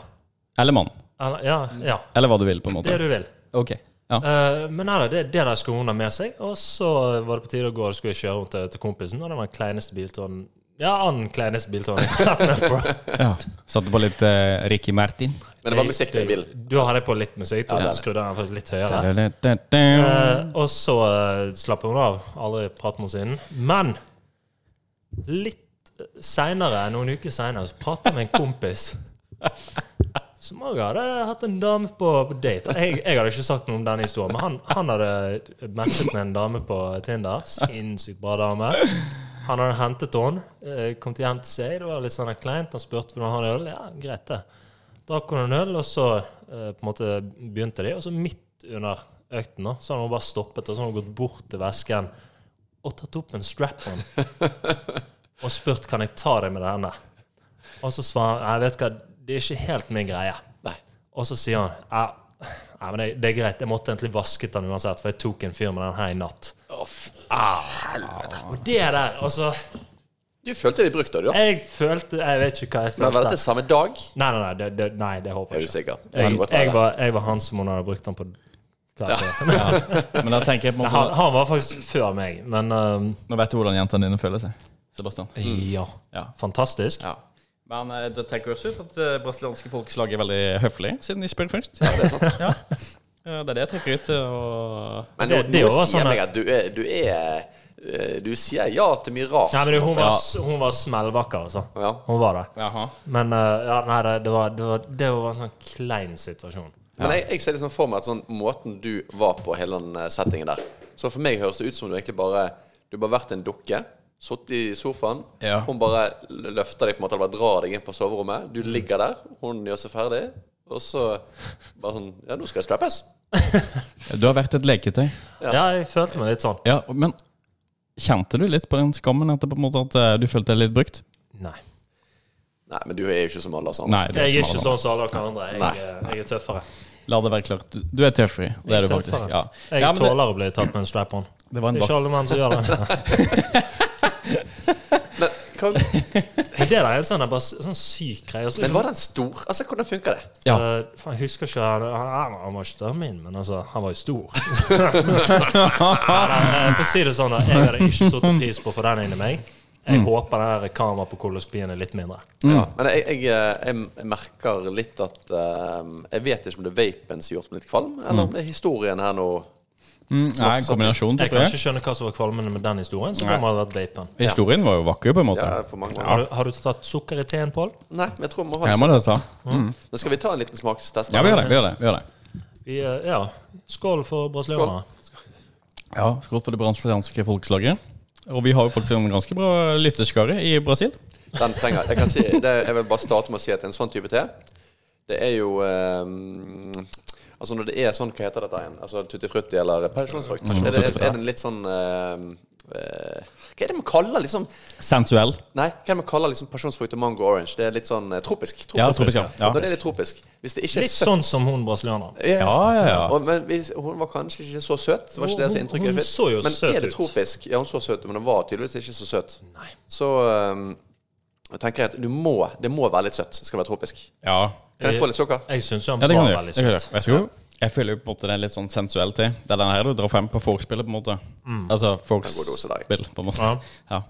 S2: Eller mann?
S3: Eller, ja, ja.
S2: Eller hva du vil, på en
S3: Det
S2: måte.
S3: du vil.
S2: Ok. Ja.
S3: Eh, men nei, da, det, det der skulle hun ha med seg. Og så var det på tide å gå, og skulle jeg kjøre rundt til, til kompisen. Og det var den kleineste bilturen Ja, annen kleineste bilturen.
S2: ja. Satte på litt eh, Ricky Martin.
S1: Men det var musikk i bilen.
S3: Da hadde jeg på litt musikk. Da
S1: Ja, det er det.
S3: skrudde jeg den faktisk litt høyere.
S2: Da-da-da-da.
S3: Eh, og så eh, slapp hun av. Aldri prat med henne siden. Men litt seinere, noen uker seinere, så prata jeg med en kompis som òg hadde hatt en dame på på date. Jeg, jeg hadde ikke sagt noe om denne historien, men han, han hadde matchet med en dame på Tinder. Sinnssykt bra dame. Han hadde hentet henne, eh, kom til hjem til seg. Det var litt sånn kleint. Han spurte om han hadde øl. Ja, greit, det drakk hun en øl, og så eh, på en måte begynte de. Og så midt under økten da, så hadde hun bare stoppet og så hadde hun gått bort til vesken og tatt opp en strap-on. og spurt kan jeg ta deg med denne. Og så svarer han jeg vet hva, det er ikke helt min greie.
S1: Nei.
S3: Og så sier han ja, nei, men det, det er greit, jeg måtte egentlig vasket den uansett, for jeg tok en fyr med den her i natt.
S1: Å, f-
S3: Og det der, altså
S1: Du følte de brukte det, du, da?
S3: Jeg følte Jeg vet ikke hva jeg
S1: Men var
S3: følte.
S1: dette samme dag?
S3: Nei, nei, nei, det, det, nei, det håper
S1: Er du
S3: jeg ikke.
S1: sikker? Det
S3: Jeg,
S1: kan godt
S3: jeg,
S1: være.
S3: var, jeg var han som hun hadde brukt den på hva er det?
S2: Men da tenker Eh, jeg på en
S3: han,
S2: måte,
S3: han var faktisk før meg, men øhm,
S2: Nå vet du hvordan jentene dine føler seg. Sebastian.
S3: Ja.
S2: Ja.
S3: Fantastisk.
S2: Ja. Men eh, det tenker også ut at eh, brasilianske folkeslag er veldig høflige, siden de spør først. Ja. Eh, Det er det jeg trekker ut. eh, Og
S1: Men
S3: Det-
S1: nå,
S3: det
S1: nå
S3: var
S1: sier jeg
S3: sånn
S1: meg at du er, du er eh, Du sier ja til mye rart.
S3: Nei, men det- hun var,
S2: Ja.
S3: s- hun var smellvakker, altså.
S1: Ja.
S3: Hun var det.
S2: Jaha.
S3: Men eh, ja, nei, det, det, var, det, var, det var en sånn klein situasjon.
S1: Men jeg, jeg ser liksom for meg at sånn måten du var på hele den eh, settingen der Så for meg høres det ut som du egentlig bare Du bare har vært en dukke, sittet i sofaen,
S2: Ja.
S1: hun bare l- løfter deg på en måte, eller bare drar deg inn på soverommet,
S3: Mm.
S1: du ligger der, hun gjør seg ferdig, og så bare sånn Ja, nå skal det strappes.
S2: Du har vært et leketøy.
S1: Ja.
S3: Ja. jeg følte meg litt sånn.
S2: Ja, men kjente du litt på den skammen etter på en måte at eh, du følte deg litt brukt?
S3: Nei.
S1: Nei, men du er jo ikke som alle altså. sammen.
S2: Nei, du
S3: Jeg er
S2: som
S3: ikke
S2: alle
S3: sånn som alle dere andre. Jeg,
S1: Nei.
S3: eh, jeg er tøffere.
S2: andre. La det være klart. Du- Du er tøffere. Det
S3: Jeg
S2: er du
S3: er
S2: faktisk.
S3: tøffere.
S2: Ja.
S3: Jeg
S2: ja, men det,
S3: tåler å bli tatt med en strap-on.
S2: det var en
S3: Det er
S2: bak...
S3: ikke alle menn som gjør det.
S1: Men, hva,
S3: Men det der er en sånn, det er bare, s- sånn syk greie. Altså,
S1: men var den stor? Altså, hvordan funker det?
S2: Ja.
S3: Eh, faen, jeg husker ikke Han, han, han var ikke større min, men altså, han var jo stor. Nei, nei, eh, for å si det sånn, da, jeg hadde ikke satt pris på å få den inn i meg. Jeg
S2: Mm.
S3: håper det her kameraet på koloskopien er litt mindre.
S1: Ja, men jeg, jeg, eh, jeg merker litt at eh, Jeg vet ikke om det er vapen som har gjort meg litt kvalm, eller om det er historien her nå.
S2: Mm, nei, en kombinasjon,
S3: Jeg
S2: tipper
S3: kan
S2: jeg.
S3: ikke skjønne hva som var kvalmende med den historien. Så det må ha vært vapen.
S2: Historien var jo vakker, på en måte.
S1: Ja, på mange måter.
S3: Har, du, har du tatt sukker i teen, Pål?
S1: Nei, men jeg tror vi må ha
S2: Jeg
S1: en
S2: må det ta.
S1: sånn. Men skal vi ta en liten smakstest?
S2: Ja, vi gjør det. Vi gjør det. Vi gjør det.
S3: Vi, eh, Ja. Skål for brasilianere.
S2: Ja, skrått for det brasilianske folkeslaget. Og vi har jo faktisk en ganske bra lytteskare i Brasil.
S1: Den trenger jeg. Kan si, det, jeg vil bare starte med å si at en sånn type te, det er jo eh, Altså når det er sånn, hva heter dette igjen? Altså Tutti frutti eller pasjonsfrukt? Er, det- er den litt sånn eh, eh, Hva er det man kaller liksom
S2: Sensuell.
S1: Nei, hva er det man kaller liksom pasjonsfrukt og mango orange? Det er litt sånn eh, tropisk. tropisk.
S2: Ja, tropisk, ja. Ja.
S1: Da er det litt tropisk. Hvis det ikke er
S3: Litt sånn som hun brasilianeren.
S1: Ja,
S2: Ja, ja, ja.
S1: Og, men hvis, hun var kanskje ikke så søt. Det var ikke det som
S3: Hun-
S1: inntrykket
S3: hun
S1: jeg fikk.
S3: så jo
S1: men
S3: søt
S1: er det
S3: ut.
S1: tropisk? Ja, hun så søt ut, men hun var tydeligvis ikke så søt.
S3: Nei.
S1: Så um, jeg tenker jeg at du må, det må være litt søtt. Skal det være tropisk.
S2: Ja.
S1: Kan
S3: Eh,
S1: jeg få litt sukker?
S3: Jeg syns han
S2: ja, det kan
S3: var
S2: du gjøre.
S3: veldig
S2: Det kan du
S3: søt.
S2: gjøre. Vær så god. Jeg føler jo på en måte det er litt sånn sensuell til. Det er den her du drar frem på vorspielet, på en måte. Altså
S1: god dose der.
S2: vorspiel, på en måte.
S3: Mm. Ja.
S2: Ja.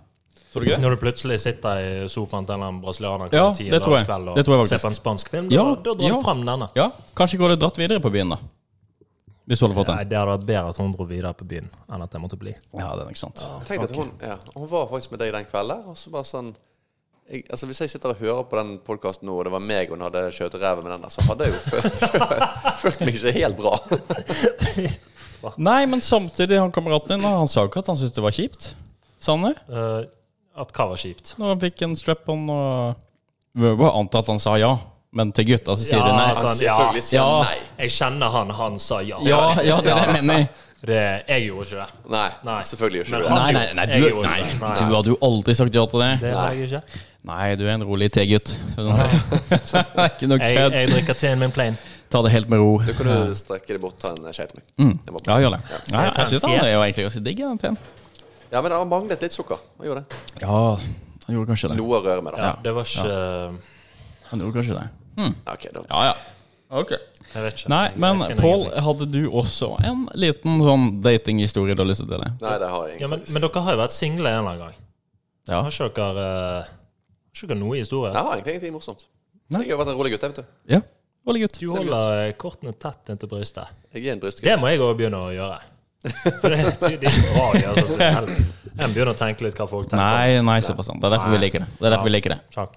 S2: Tror du ikke det?
S3: Når du plutselig sitter i sofaen til en
S2: Ja,
S3: brasilianer klokka ti
S2: det
S3: en
S2: tror jeg.
S3: lørdagskveld
S2: Det tror jeg
S3: og ser
S2: faktisk.
S3: på en spansk film,
S2: Ja,
S3: da, da drar
S2: ja.
S3: du frem denne.
S2: Ja. Kanskje går det dratt videre på byen, da. Hvis du hadde fått
S3: Nei,
S2: den.
S3: Det hadde vært bedre at hun dro videre på byen enn at jeg måtte bli.
S2: Ja, det er nok sant.
S1: Tenk at hun, ja, hun var faktisk med deg den kvelden, og så bare sånn jeg, altså Hvis jeg sitter og hører på den podkasten nå, og det var meg hun hadde skjøt i ræva med den der, så hadde jeg jo følt, følt- følt meg ikke helt bra.
S2: Nei, men samtidig, han kameraten din, han sa jo ikke at han syntes det var kjipt. Sa han det?
S3: Eh, at hva var kjipt?
S2: Når han fikk en strap-on og Vi må anta at han sa ja, men til gutta så sier
S3: Ja,
S2: de nei.
S3: altså,
S1: Han
S3: ja.
S1: selvfølgelig sier
S2: Ja.
S1: nei.
S3: Jeg kjenner han, han sa ja.
S2: Ja, ja, det er det jeg mener.
S3: Det, jeg gjorde ikke det.
S1: Nei,
S3: Nei.
S1: selvfølgelig gjør
S3: Men
S1: ikke du det.
S3: han-
S2: Nei, nei, nei,
S3: Jeg
S2: du,
S3: gjorde
S2: nei,
S3: ikke det. Nei.
S2: du hadde jo aldri sagt ja til det.
S3: Det var jeg ikke.
S2: Nei, du er en rolig T-gutt. Det er ikke noe
S3: Jeg,
S2: kødd.
S3: jeg drikker teen min plain.
S2: Ta det helt med ro.
S1: Da kan du strekke deg bort og ta en skje til meg.
S3: Mm.
S1: Jeg må bare-
S2: Ja, gjør det. Nei,
S3: jeg ta
S2: jeg
S3: en
S2: syns han er jo egentlig ganske digg. den teen.
S1: Ja, men han manglet litt sukker. Han gjorde det.
S2: Ja, han gjorde kanskje det.
S1: Noe å røre med, da.
S3: Ja, det var ikke eh,
S2: Han gjorde kanskje det.
S1: Ja, ok, da.
S2: Ja, ja. Ok.
S3: Jeg vet ikke.
S2: Nei,
S3: Jeg-
S2: men
S3: jeg finner
S2: Pål,
S3: ingenting.
S2: hadde du også en liten sånn datinghistorie du har lyst til å dele?
S1: Nei, det har jeg
S3: ja,
S1: egentlig
S3: men, men dere har jo vært single en eller annen gang.
S2: Ja.
S3: Har ikke dere, eh, har ikke dere noe historie?
S1: Jeg har egentlig ingenting morsomt.
S2: Nei.
S1: Jeg har vært en rolig gutt. jeg, vet du.
S2: Ja. Rolig gutt.
S3: Du holder eh, kortene tett inntil brystet.
S1: Jeg er en brystgutt.
S3: Det må jeg òg begynne å gjøre. For det, det er ikke bra å gjøre sånn som det er. En begynner å tenke litt hva folk tenker.
S2: Nei, nei, Sebastian. Det er derfor vi liker det. Det er derfor vi liker det.
S3: Takk.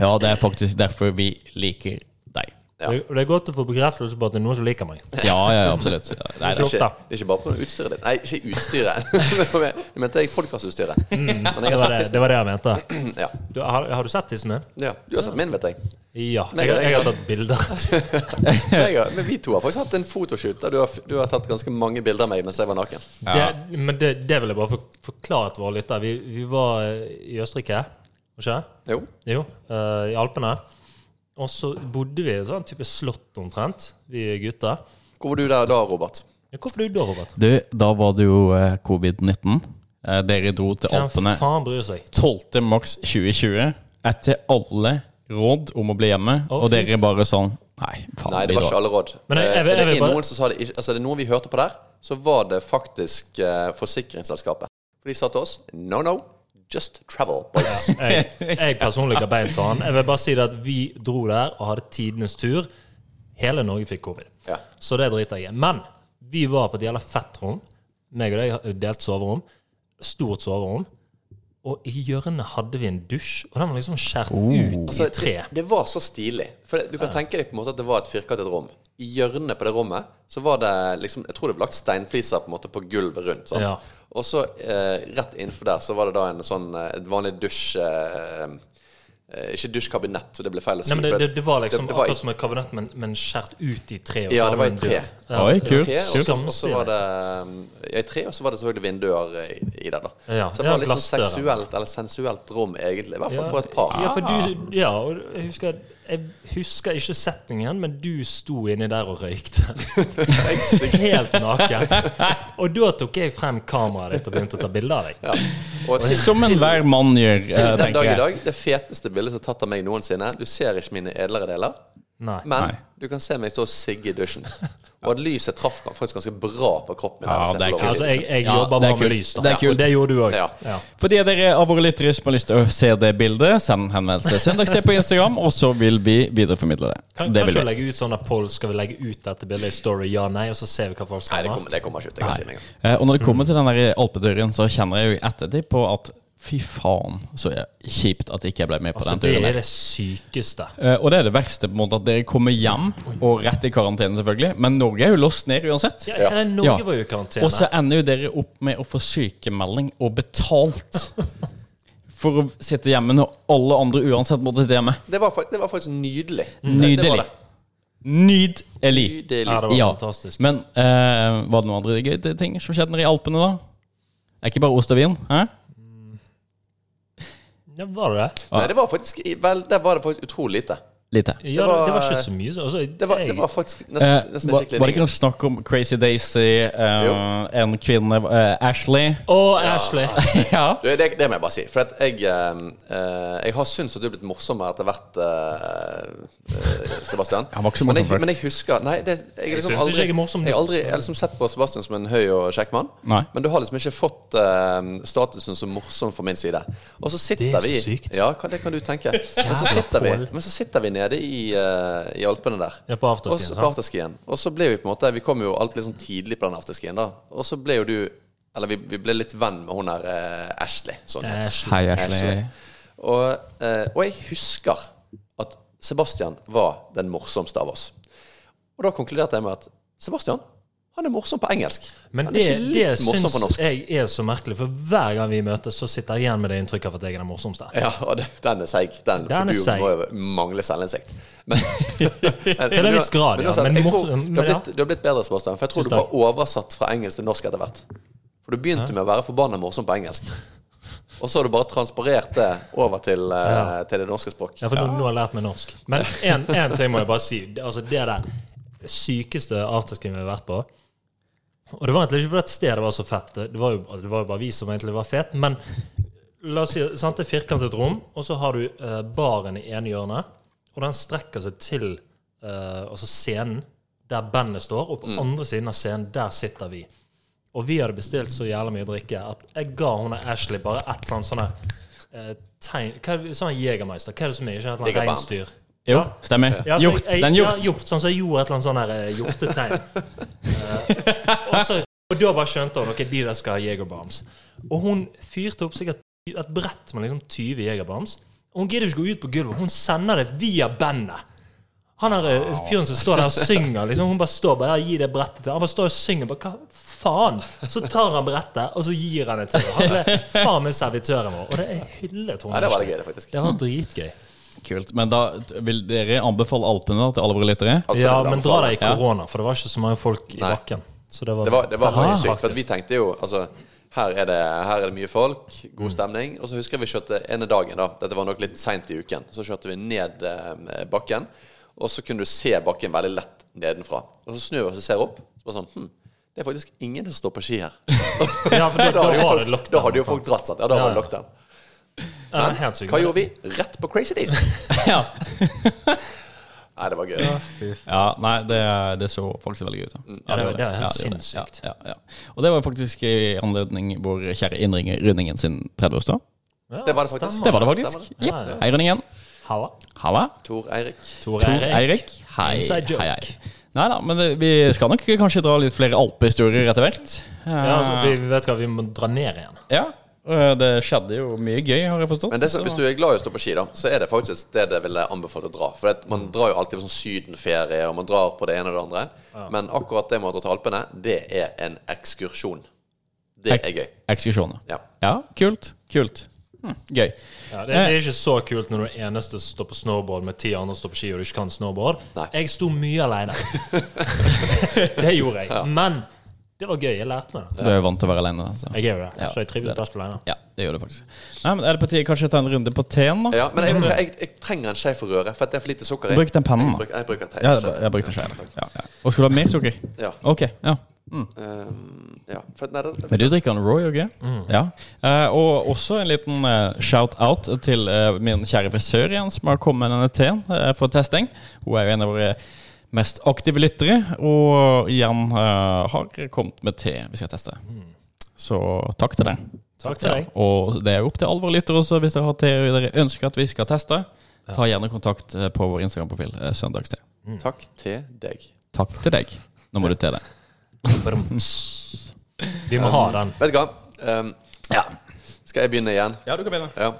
S2: Ja, det er faktisk derfor vi liker deg.
S1: Ja.
S3: Det, og det er godt å få bekreftelse på at det er noen som liker meg.
S2: Ja, ja, absolutt. Nei,
S1: Det er,
S3: Flott,
S1: ikke,
S3: da.
S1: det er ikke bare på utstyret ditt. Nei, ikke utstyret. Jeg mente jeg podkastutstyret. Men jeg
S3: Mm.
S1: har
S3: Det var
S1: sett
S3: det,
S1: tissen.
S3: det var det jeg mente.
S1: Ja.
S3: Du, har, har du sett tissen min?
S1: ja. Du har sett min, vet jeg.
S3: Ja.
S1: Nei,
S3: Jeg, jeg,
S1: jeg-
S3: har tatt bilder.
S1: jeg har, men vi to har faktisk hatt en fotoshoot der du har, du har tatt ganske mange bilder av meg mens jeg var naken.
S2: Ja.
S3: Det, men det, det vil jeg bare for, forklare til våre lyttere. Vi, vi var eh, i Østerrike, ikke
S1: Jo.
S3: Jo, eh, i Alpene. Og så bodde vi i et sånt type slott omtrent, vi gutter.
S1: Hvor var du der da, Robert?
S3: Ja, Hvorfor du da, Robert?
S2: Du, da var det jo eh, covid-19. Eh, Dere dro til
S3: Hvem
S2: Alpene
S3: faen bryr seg?
S2: 12. mars 2020 etter alle råd om å bli hjemme, og
S3: fy
S2: dere bare sånn Nei, faen.
S1: Nei, det
S2: vi
S1: var ikke
S2: drar.
S1: alle råd.
S3: Men jeg- jeg-
S1: Eh,
S3: jeg- jeg
S1: er det
S3: vil bare-
S1: noen som sa det ikke Altså, er det noe vi hørte på der, så var det faktisk eh, forsikringsselskapet. For de sa til oss No, no, just travel. boys.
S3: Jeg, jeg personlig har beint for han. Jeg vil bare si det at vi dro der og hadde tidenes tur. Hele Norge fikk covid.
S1: Ja.
S3: Så det driter jeg i. Men vi var på et jævla fett rom. Meg og deg delt soverom. Stort soverom. Og i hjørnet hadde vi en dusj, og den var liksom skåret
S2: Oh.
S3: ut
S1: Altså,
S3: i tre.
S1: Det, det var så stilig. For det, du kan tenke deg på en måte at det var et firkantet rom. I hjørnet på det rommet så var det liksom Jeg tror det var lagt steinfliser på en måte på gulvet rundt. Sant?
S3: Ja.
S1: Og så eh, rett innenfor der så var det da en sånn eh, et vanlig dusj eh, eh, Ikke dusjkabinett, det ble feil å si.
S3: Nei, men det,
S1: for
S3: det, det var liksom
S1: det- det var i-
S3: akkurat som et kabinett, men, men skåret ut i tre.
S1: Ja,
S3: så
S1: det var i
S3: en
S1: tre.
S3: dør. Ja.
S2: Oi, kult.
S1: tre, og
S2: kult.
S1: så- og så var det eh, ja, i tre, og så var det selvfølgelig vinduer i, i det. da
S3: Ja,
S1: Så det
S3: ja,
S1: var litt sånn
S3: glassdører.
S1: seksuelt eller sensuelt rom, egentlig. I hvert fall
S3: Ja.
S1: for et par.
S3: Ja, for
S2: Ah.
S3: du, ja og jeg, husker, jeg husker ikke settingen, men du sto inni der og røykte. Helt naken. Og da tok jeg frem kameraet ditt og begynte å ta bilder av deg.
S1: Ja. Og til-
S2: Som enhver mann gjør, eh,
S1: Den dag
S2: tenker
S1: i
S2: jeg.
S1: dag, det feteste bildet som er tatt av meg noensinne. Du ser ikke mine edlere deler,
S3: Nei.
S1: men
S2: Nei.
S1: du kan se meg stå og sigge i dusjen. Og at lyset traff faktisk ganske bra på kroppen. min,
S2: Ja,
S1: hvis jeg
S2: det er
S1: får lov å
S2: kult.
S1: si
S3: Altså, jeg, jeg
S2: Ja,
S3: jobber
S2: det er
S3: bare med
S2: kult.
S3: lys, da.
S2: Det er kult.
S3: Og det gjorde du òg.
S1: Ja.
S3: Ja.
S2: For de av dere av våre lyttere som har lyst til å se det bildet, send henvendelse søndagstid på Instagram, og så vil vi videreformidle det.
S3: Kan,
S2: det
S3: kanskje
S2: vil
S3: vi
S2: vi.
S3: legge ut sånn at Pål skal vi legge ut dette bildet i Story, ja, nei, og så ser vi hva folk
S1: Nei, det
S3: stemmer?
S1: kommer, det kommer ikke ut. Jeg kan si det en gang.
S2: Eh, Og når det kommer til den der alpedøren, så kjenner jeg jo i ettertid på at fy faen, så er det kjipt at ikke jeg ble med på den
S3: Altså, det
S2: turen. der.
S3: er det sykeste.
S2: Eh, Og det er det verste, på en måte, at dere kommer hjem, og rett i karantene selvfølgelig, men Norge er jo låst ned uansett.
S3: Ja, nei, Norge
S2: Ja.
S3: var jo i
S2: Og så
S3: karantene.
S2: ender jo dere opp med å få sykemelding og betalt for å sitte hjemme når alle andre uansett måtte sitte hjemme.
S1: Det var, fak- det var faktisk nydelig. Det, det
S2: Nydelig.
S1: var det.
S2: Nydelig.
S3: Mm. Ja,
S1: Nydelig.
S3: det var
S2: Ja.
S3: fantastisk.
S2: Men eh, var det noen andre gøye ting som skjedde nede i Alpene, da? Er ikke bare ost og vin? Hæ?
S3: Ja, var det det?
S1: Nei, det var faktisk i- vel, Der var det faktisk utrolig lite.
S2: Lite.
S3: Ja, det
S1: Det
S3: var,
S1: var-
S3: det var ikke så mye. så- Altså,
S1: Det var,
S3: jeg-
S1: det var faktisk
S2: Eh,
S1: nesten, nesten
S2: var,
S1: ikke
S2: var det
S1: lenger.
S2: ikke noe snakk om Crazy Daisy, eh,
S1: Jo.
S2: en kvinne eh, Ashley?
S3: Å, Ashley!
S2: ja.
S1: Du, det, det må jeg bare si. For at jeg, eh, eh, jeg har syntes at du er blitt morsommere etter hvert, eh, eh, Sebastian.
S2: Han var ikke så
S1: men, jeg,
S2: morsom før.
S1: men jeg husker Nei, det, jeg, har liksom
S3: synes ikke
S1: aldri,
S3: jeg er morsom nå.
S1: Jeg har aldri jeg har liksom sett på Sebastian som en høy og kjekk mann.
S2: Nei.
S1: Men du har liksom ikke fått eh, statusen som morsom fra min side. Og så sitter
S3: Det er så
S1: vi
S3: sykt.
S1: Ja, hva- det kan du tenke. Men så
S3: Jævla
S1: sitter vi,
S3: Pål.
S1: men så sitter vi nede i, eh, i Alpene der.
S3: Ja, på afterskien,
S1: Og så-
S3: sant?
S1: På afterskien. Og så ble vi på en måte Vi kom jo alltid litt sånn tidlig på den afterskien, da. Og så ble jo du Eller vi, vi ble litt venn med hun der eh, Ashley. Sånn het.
S3: Ashley.
S2: Hei, Ashley.
S1: Ashley. Og, eh, og jeg husker at Sebastian var den morsomste av oss. Og da konkluderte jeg med at Sebastian, han er morsom på engelsk.
S3: Men
S1: han
S3: det,
S1: er ikke litt
S3: det
S1: morsom på
S3: syns
S1: norsk.
S3: jeg er så merkelig, for hver gang vi møtes, så sitter jeg igjen med det inntrykket av at jeg er den morsomste.
S1: Ja, og det, den er seig. Den,
S3: Den
S1: for
S3: er
S1: du
S3: seig.
S1: må jo mangle selvinnsikt. Men, Eh,
S3: Til en viss grad, ja, men
S1: sånn, jeg tror,
S3: morsom-
S1: du, har
S3: men ja.
S1: blitt, du har blitt bedre, Sebastian. For jeg tror
S3: Tusen
S1: du var oversatt fra engelsk til norsk etter hvert. For du begynte med å være forbanna morsom på engelsk. Og så har du bare transparert det over til, eh, til det norske språk.
S3: Ja, for nå, nå har jeg lært meg norsk. Men én ting må jeg bare si. Det- Altså, det der sykeste afterskrinet vi har vært på Og det var egentlig ikke fordi at stedet var så fett, det- det var jo, altså, det var jo bare vi som egentlig var fete, men la oss si sant, det er firkantet rom, og så har du eh, baren i ene hjørnet, og den strekker seg til eh, altså scenen der bandet står, og på andre siden av scenen, der sitter vi. Og vi hadde bestilt så jævla mye drikke at jeg ga hun der Ashley bare et eller annet sånne eh, tegn... Hva er det, sånn Jegermeister? Hva er det som er ikke et eller annet
S1: Jegerbarn.
S3: reinsdyr?
S2: Jo, stemmer.
S3: Ja, så
S2: Hjort.
S3: Jeg,
S2: Den
S3: jeg, ja,
S2: hjort.
S3: hjort. Sånn som jeg gjorde et eller annet sånn her eh, hjortetegn. Eh, og, så, og da bare skjønte hun ok, de der skal ha Jegerbombs. Og hun fyrte opp sikkert et brett med liksom 20 Jegerbombs. Og hun gidder ikke gå ut på gulvet. Hun sender det via bandet. Han der eh, fyren som står der og synger, liksom, hun bare står bare ja, gi det brettet til Han bare står og synger. Bare, Hva faen? Så tar han brettet, og så gir han det til henne. Han ble faen meg servitøren vår. Og det er hyllet hun.
S1: Nei, det var veldig gøy, det, faktisk.
S3: Det var dritgøy.
S2: Kult. Men da vil dere anbefale Alpene da, til alle våre lyttere?
S1: Alt
S3: Ja,
S1: det der.
S3: men dra deg i korona, for det var ikke så mange folk i
S1: Nei.
S3: bakken. Så det var,
S1: Det var, det var
S3: Aha.
S1: veldig sykt, for at vi tenkte jo altså, her er, det, her er det mye folk,
S3: Mm.
S1: god stemning. Og så husker jeg vi kjørte ene dagen, da. Dette var nok litt seint i uken. Så kjørte vi ned eh, bakken, og så kunne du se bakken veldig lett nedenfra. Og så snur vi oss og ser opp, så var det sånn hm, det er faktisk ingen som står på ski her.
S3: Ja, for da, da
S1: hadde jo
S3: var det
S1: folk,
S3: lockdown.
S1: da hadde jo folk dratt seg. Ja, da
S3: Ja,
S1: var det
S3: ja.
S1: lockdown.
S3: Ja, det er helt sykt.
S1: Hva gjorde vi? Rett på Crazy Days!
S2: Ja.
S1: Nei, det var gøy.
S2: ja nei, det, det så faktisk veldig gøy ut. da.
S3: Ja, det var- det var helt
S2: Ja, gjorde det.
S3: sinnssykt.
S2: Ja, ja, ja. Og det var faktisk i anledning vår kjære innringer Rynningen sin 30-årsdag.
S3: Ja,
S1: Det var det faktisk.
S2: Det
S3: stemmer.
S2: var det faktisk.
S1: Stemmer
S2: Jepp.
S3: Ja, ja.
S2: Hei, Rynningen.
S3: Halla.
S2: Halla.
S1: Tor Eirik.
S3: Tor
S2: Tor
S3: Eirik.
S2: Eirik. Hei, hei,
S3: Inside joke.
S2: hei. Nei da, men det, vi skal nok kanskje dra litt flere alpehistorier etter hvert.
S3: Ja, altså, vi vi vet hva, vi må dra ned igjen.
S2: Ja, øh, det skjedde jo mye gøy, har jeg forstått.
S1: Men det, som- hvis du er glad i å stå på ski, da, så er det faktisk et sted jeg ville anbefalt å dra. For det, at
S2: Mm.
S1: man drar jo alltid på sånn sydenferie, og man drar på det ene og det andre. Men akkurat det med å dra til Alpene, det er en ekskursjon. Det er gøy.
S2: Ekskursjoner.
S1: Ja.
S2: Ja, kult. Kult. Hm, gøy.
S3: Ja, det, det er ikke så kult når du er eneste som står på snowboard med ti andre som står på ski, og du ikke kan snowboard.
S1: Nei.
S3: Jeg sto mye alene. det gjorde jeg. Men det var gøy. Jeg lærte meg det.
S2: Du er jo vant til å være alene. Altså.
S3: Jeg er jo det,
S2: Ja,
S3: så
S2: det
S3: jeg
S2: er
S3: trives best alene.
S2: Ja, det gjør du faktisk. Nei, men Er det på tide kanskje å ta en runde på teen, da?
S1: Ja, men jeg, jeg, jeg, trenger en skje for røret, for at det er for lite sukker i.
S2: Bruk den pennen,
S1: Jeg
S2: da.
S1: bruker, jeg bruker te.
S2: Ja, jeg, jeg brukte skeiv. Ja, ja. Og skulle du ha mer sukker?
S1: Ja.
S2: Ok, ja.
S1: Um, ja. For, at- nei, det,
S2: Men du drikker en Roy, ikke?
S3: Mm.
S2: Ja. Eh, og også en liten eh, shout-out til eh, min kjære frisør igjen, som har kommet med denne teen eh, for testing. Hun er jo en av våre mest aktive lyttere, og igjen eh, har kommet med te vi skal teste. Så takk til deg.
S3: Mm. Takk til deg.
S2: Ja, og det er jo opp til alle våre lyttere også, hvis dere har te dere ønsker at vi skal teste. Ta gjerne kontakt eh, på vår Instagram-profil eh, Søndagste.
S1: takk til deg.
S2: Takk til deg. Nå må du til det.
S3: Brums. Vi må ha den.
S1: Vet du hva? Um,
S2: Ja.
S1: skal jeg begynne igjen?
S2: ja, du kan begynne.
S1: Ja.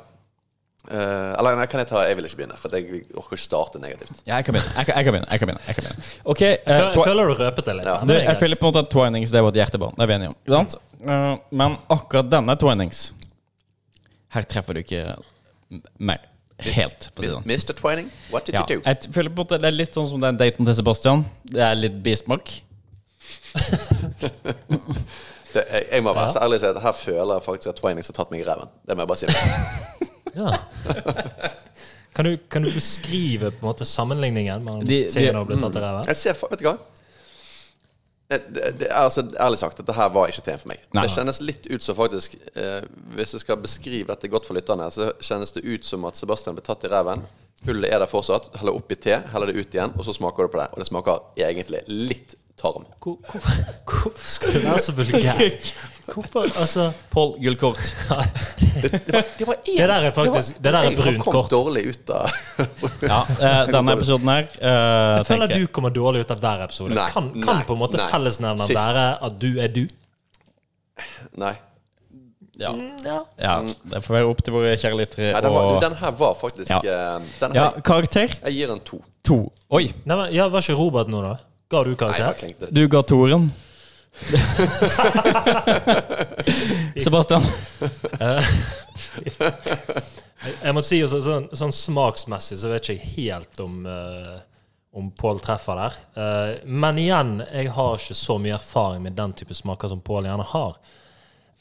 S1: Eh, eller nei, kan jeg ta Jeg vil ikke begynne, for at jeg orker ikke starte negativt.
S2: Ja, jeg kan begynne. Jeg kan, jeg kan begynne. Jeg kan begynne. Jeg kan begynne. Ok, eh,
S3: Fø-
S2: twi-
S3: Føler du røpet det litt?
S1: Ja.
S2: det,
S3: Men det er
S2: jeg
S3: greit.
S2: føler på en måte at twinings det var et hjertebarn. Det er vi enige om. Ikke sant? Eh, men akkurat denne twinings Her treffer du ikke m- meg helt. på siden.
S1: Mr. Twining, what did
S2: sånn. Ja,
S1: you do?
S2: jeg føler på en måte Det er litt sånn som den daten til Sebastian. Det er litt bismak.
S1: Det, jeg, jeg må være så ærlig og si at her føler jeg faktisk at Twinings har tatt meg i ræven. Det må jeg bare si.
S3: Ja. Kan du, kan du beskrive på en måte sammenligningen mellom
S2: De- mm. de-
S3: teen og blitt tatt i ræven?
S1: Jeg ser, fa- vet du hva? Det, det, det, er altså, ærlig sagt, dette her var ikke teen for meg.
S2: Nei.
S1: Det kjennes litt ut som faktisk eh, Hvis jeg skal beskrive dette godt for lytterne, så kjennes det ut som at Sebastian ble tatt i ræven. Hullet er der fortsatt. Heller oppi te, heller det ut igjen, og så smaker du på det. Og det smaker egentlig litt tarm.
S3: Hvor, hvorfor, hvorfor skal du være så vulgær? Hvorfor, altså
S2: Pål, gullkort.
S1: Det var
S3: Det der er faktisk Det der er brunt kort.
S1: kom dårlig ut av
S2: Ja, eh, denne episoden her eh,
S3: Jeg føler
S2: tenker
S3: du kommer dårlig ut av hver episode.
S1: Nei,
S3: kan kan
S1: nei,
S3: på en måte
S1: nei.
S3: fellesnevneren
S1: Sist.
S3: være at du er du?
S1: Nei.
S2: ja,
S3: Ja.
S2: ja, Det får være opp til våre kjære lyttere
S1: Nei, den, var,
S2: å-
S1: du, den her var faktisk
S2: Ja.
S1: eh, Den
S2: Ja,
S1: her
S2: karakter
S1: Jeg gir en to.
S2: to. Oi,
S3: Nei, men, ja, Var ikke Robert nå, da? Ga
S1: Nei,
S3: du
S1: jeg bare
S3: karakter?
S1: klingte.
S2: du ga toeren. Sebastian.
S3: Jeg må si også, sånn, sånn smaksmessig så vet ikke jeg helt om eh, om Pål treffer der. Eh, men igjen, jeg har ikke så mye erfaring med den type smaker som Pål gjerne har.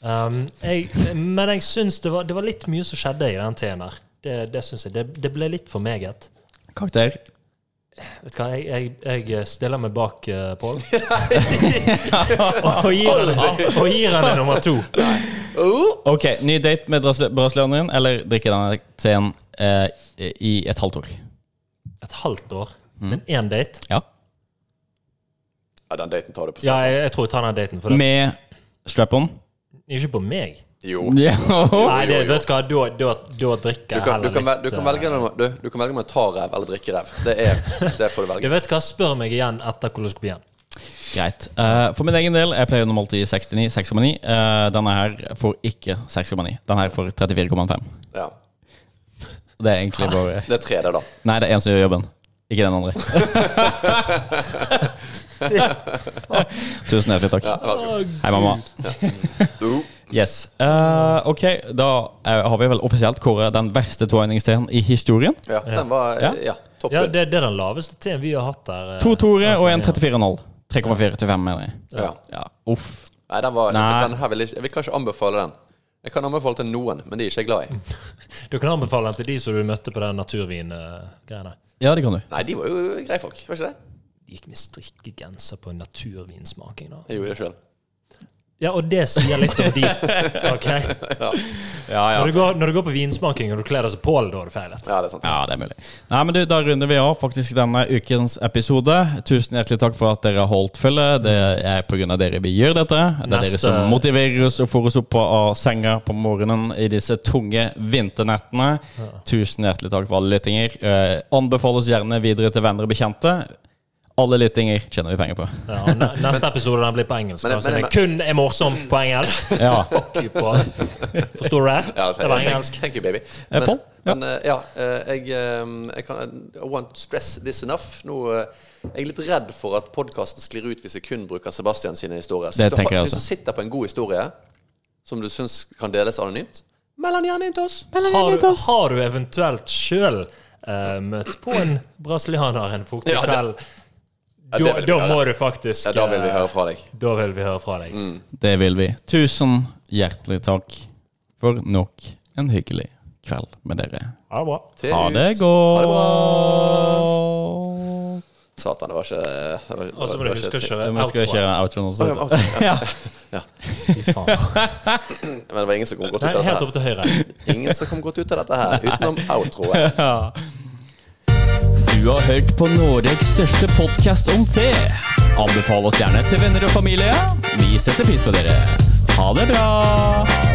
S3: Um, jeg, men jeg syns det, var- det var litt mye som skjedde i den teen der. Det, det syns jeg. Det, det ble litt for meget.
S2: Karakter.
S3: Vet du hva, jeg, jeg, jeg stiller meg bak uh, Pål. og, gir han- og gir han en nummer to.
S2: Ok, ny date med brasile- brasilianeren, eller drikke denne teen eh, i et halvt år.
S3: Et halvt år, men én date.
S2: Ja.
S1: Ja, den daten tar du på
S3: Ja, jeg, jeg tror jeg tar den daten. For det.
S2: Med strap-on.
S3: Ikke på meg.
S1: Jo.
S2: Ja.
S3: Nei, det,
S1: jo.
S3: vet du hva, da, da, da drikker
S1: Du
S3: jeg
S1: kan, du
S3: heller
S1: kan, vel- du
S3: litt.
S1: kan
S3: eh,
S1: velge mellom du, du kan velge mellom ta-rev eller drikkerev. Det, er, det får du
S3: Du
S1: velge.
S3: vet hva, spør meg igjen etter koloskopien.
S2: Greit. Eh, for min egen del, jeg pleier normalt i 69, 6,9. Eh, denne her får ikke 6,9. Den her får 34,5.
S1: Ja.
S2: Det er egentlig bare
S1: Det er tre, det, da.
S2: Nei, det er en som gjør jobben. Ikke den andre. Tusen hjertelig takk.
S1: Ja, vær så god.
S2: Hei, mamma.
S1: Jo.
S2: Yes. Eh, ok, da eh, har vi vel offisielt kåret den verste toegningsteen i historien.
S1: Ja, den var
S2: Ja.
S1: Ja, toppen.
S3: Ja, det, det er den laveste T-en vi har hatt der. eh,
S2: To toere og en
S3: altså,
S2: 34,5. 3,4 til 5, mener jeg.
S1: Ja.
S2: Ja, uff.
S1: Nei, den var
S2: Nei.
S1: Den her vil jeg ikke Jeg vil kanskje anbefale den. Jeg kan anbefale til noen, men de er ikke jeg glad i.
S3: ja. Du kan anbefale den til de som du møtte på den naturvingreiene.
S2: Ja, det kan du.
S1: Nei, de var jo greie folk, var ikke det?
S3: Gikk med strikkegenser på en naturvinsmaking, da.
S1: Jeg gjorde det sjøl.
S3: Ja, og det sier litt om de. Ok?
S2: Ja,
S3: Når, du går, når du går på vinsmaking og du kler deg som Pål, da har du feilet.
S1: Ja, det er sant.
S2: Ja, det er mulig. Nei, men du, Da runder vi av faktisk denne ukens episode. Tusen hjertelig takk for at dere har holdt følge. Det er pga. dere vi gjør dette. Det er dere
S3: Neste-
S2: som motiverer oss og får oss opp av senga på morgenen i disse tunge vinternettene. Tusen hjertelig takk for alle lyttinger. Eh, anbefal oss gjerne videre til venner og bekjente. Alle lyttinger tjener vi penger på.
S3: Ja, og ne- neste episode den blir på engelsk.
S1: Men-
S3: altså,
S1: men-
S3: den kun er morsom på engelsk.
S2: Ja.
S3: Fuck you, Pål. Forstår du det?
S1: Ja, altså,
S3: det var
S1: thank-
S3: engelsk.
S1: Thank you, baby.
S2: Eh, Paul? Ja.
S1: men, eh, ja eh, jeg, eh, jeg kan I won't stress this enough. Nå eh, jeg er litt redd for at podkasten sklir ut hvis vi kun bruker Sebastian sine historier. Så
S2: Det
S1: hvis du har-
S2: tenker jeg
S1: Hvis du sitter på en god historie som du syns kan deles anonymt, meld den gjerne inn til oss.
S3: Har du, har du eventuelt sjøl eh, møtt på en brasilianer en fuktig
S1: Ja, det-
S3: kveld?
S1: Ja, det
S3: Da,
S1: vil vi
S3: da
S1: høre.
S3: må du faktisk
S1: Ja, da vil vi
S3: eh,
S1: høre Mm. fra deg.
S3: da vil vi høre fra deg.
S2: Det vil vi. Tusen hjertelig takk for nok en hyggelig kveld med dere.
S3: Ha det bra.
S2: Ha det
S1: ut. Ha
S2: godt.
S1: det
S2: bra.
S1: Satan, det var ikke det var-
S3: Og så må
S1: det
S3: du
S1: var
S3: huske å
S1: ikke-
S3: kjøre
S2: Men vi skal
S3: outroen.
S2: kjøre outroen også.
S1: Å, ja, outroen,
S2: ja.
S3: Fy faen.
S1: Men det var ingen som kom godt ut
S3: Nei,
S1: av dette.
S3: helt
S1: her.
S3: opp til høyre.
S1: Ingen som kom godt ut av dette her, utenom outroet.
S2: Du har hørt på Norges største podkast om te. Anbefal oss gjerne til venner og familie. Vi setter pris på dere. Ha det bra.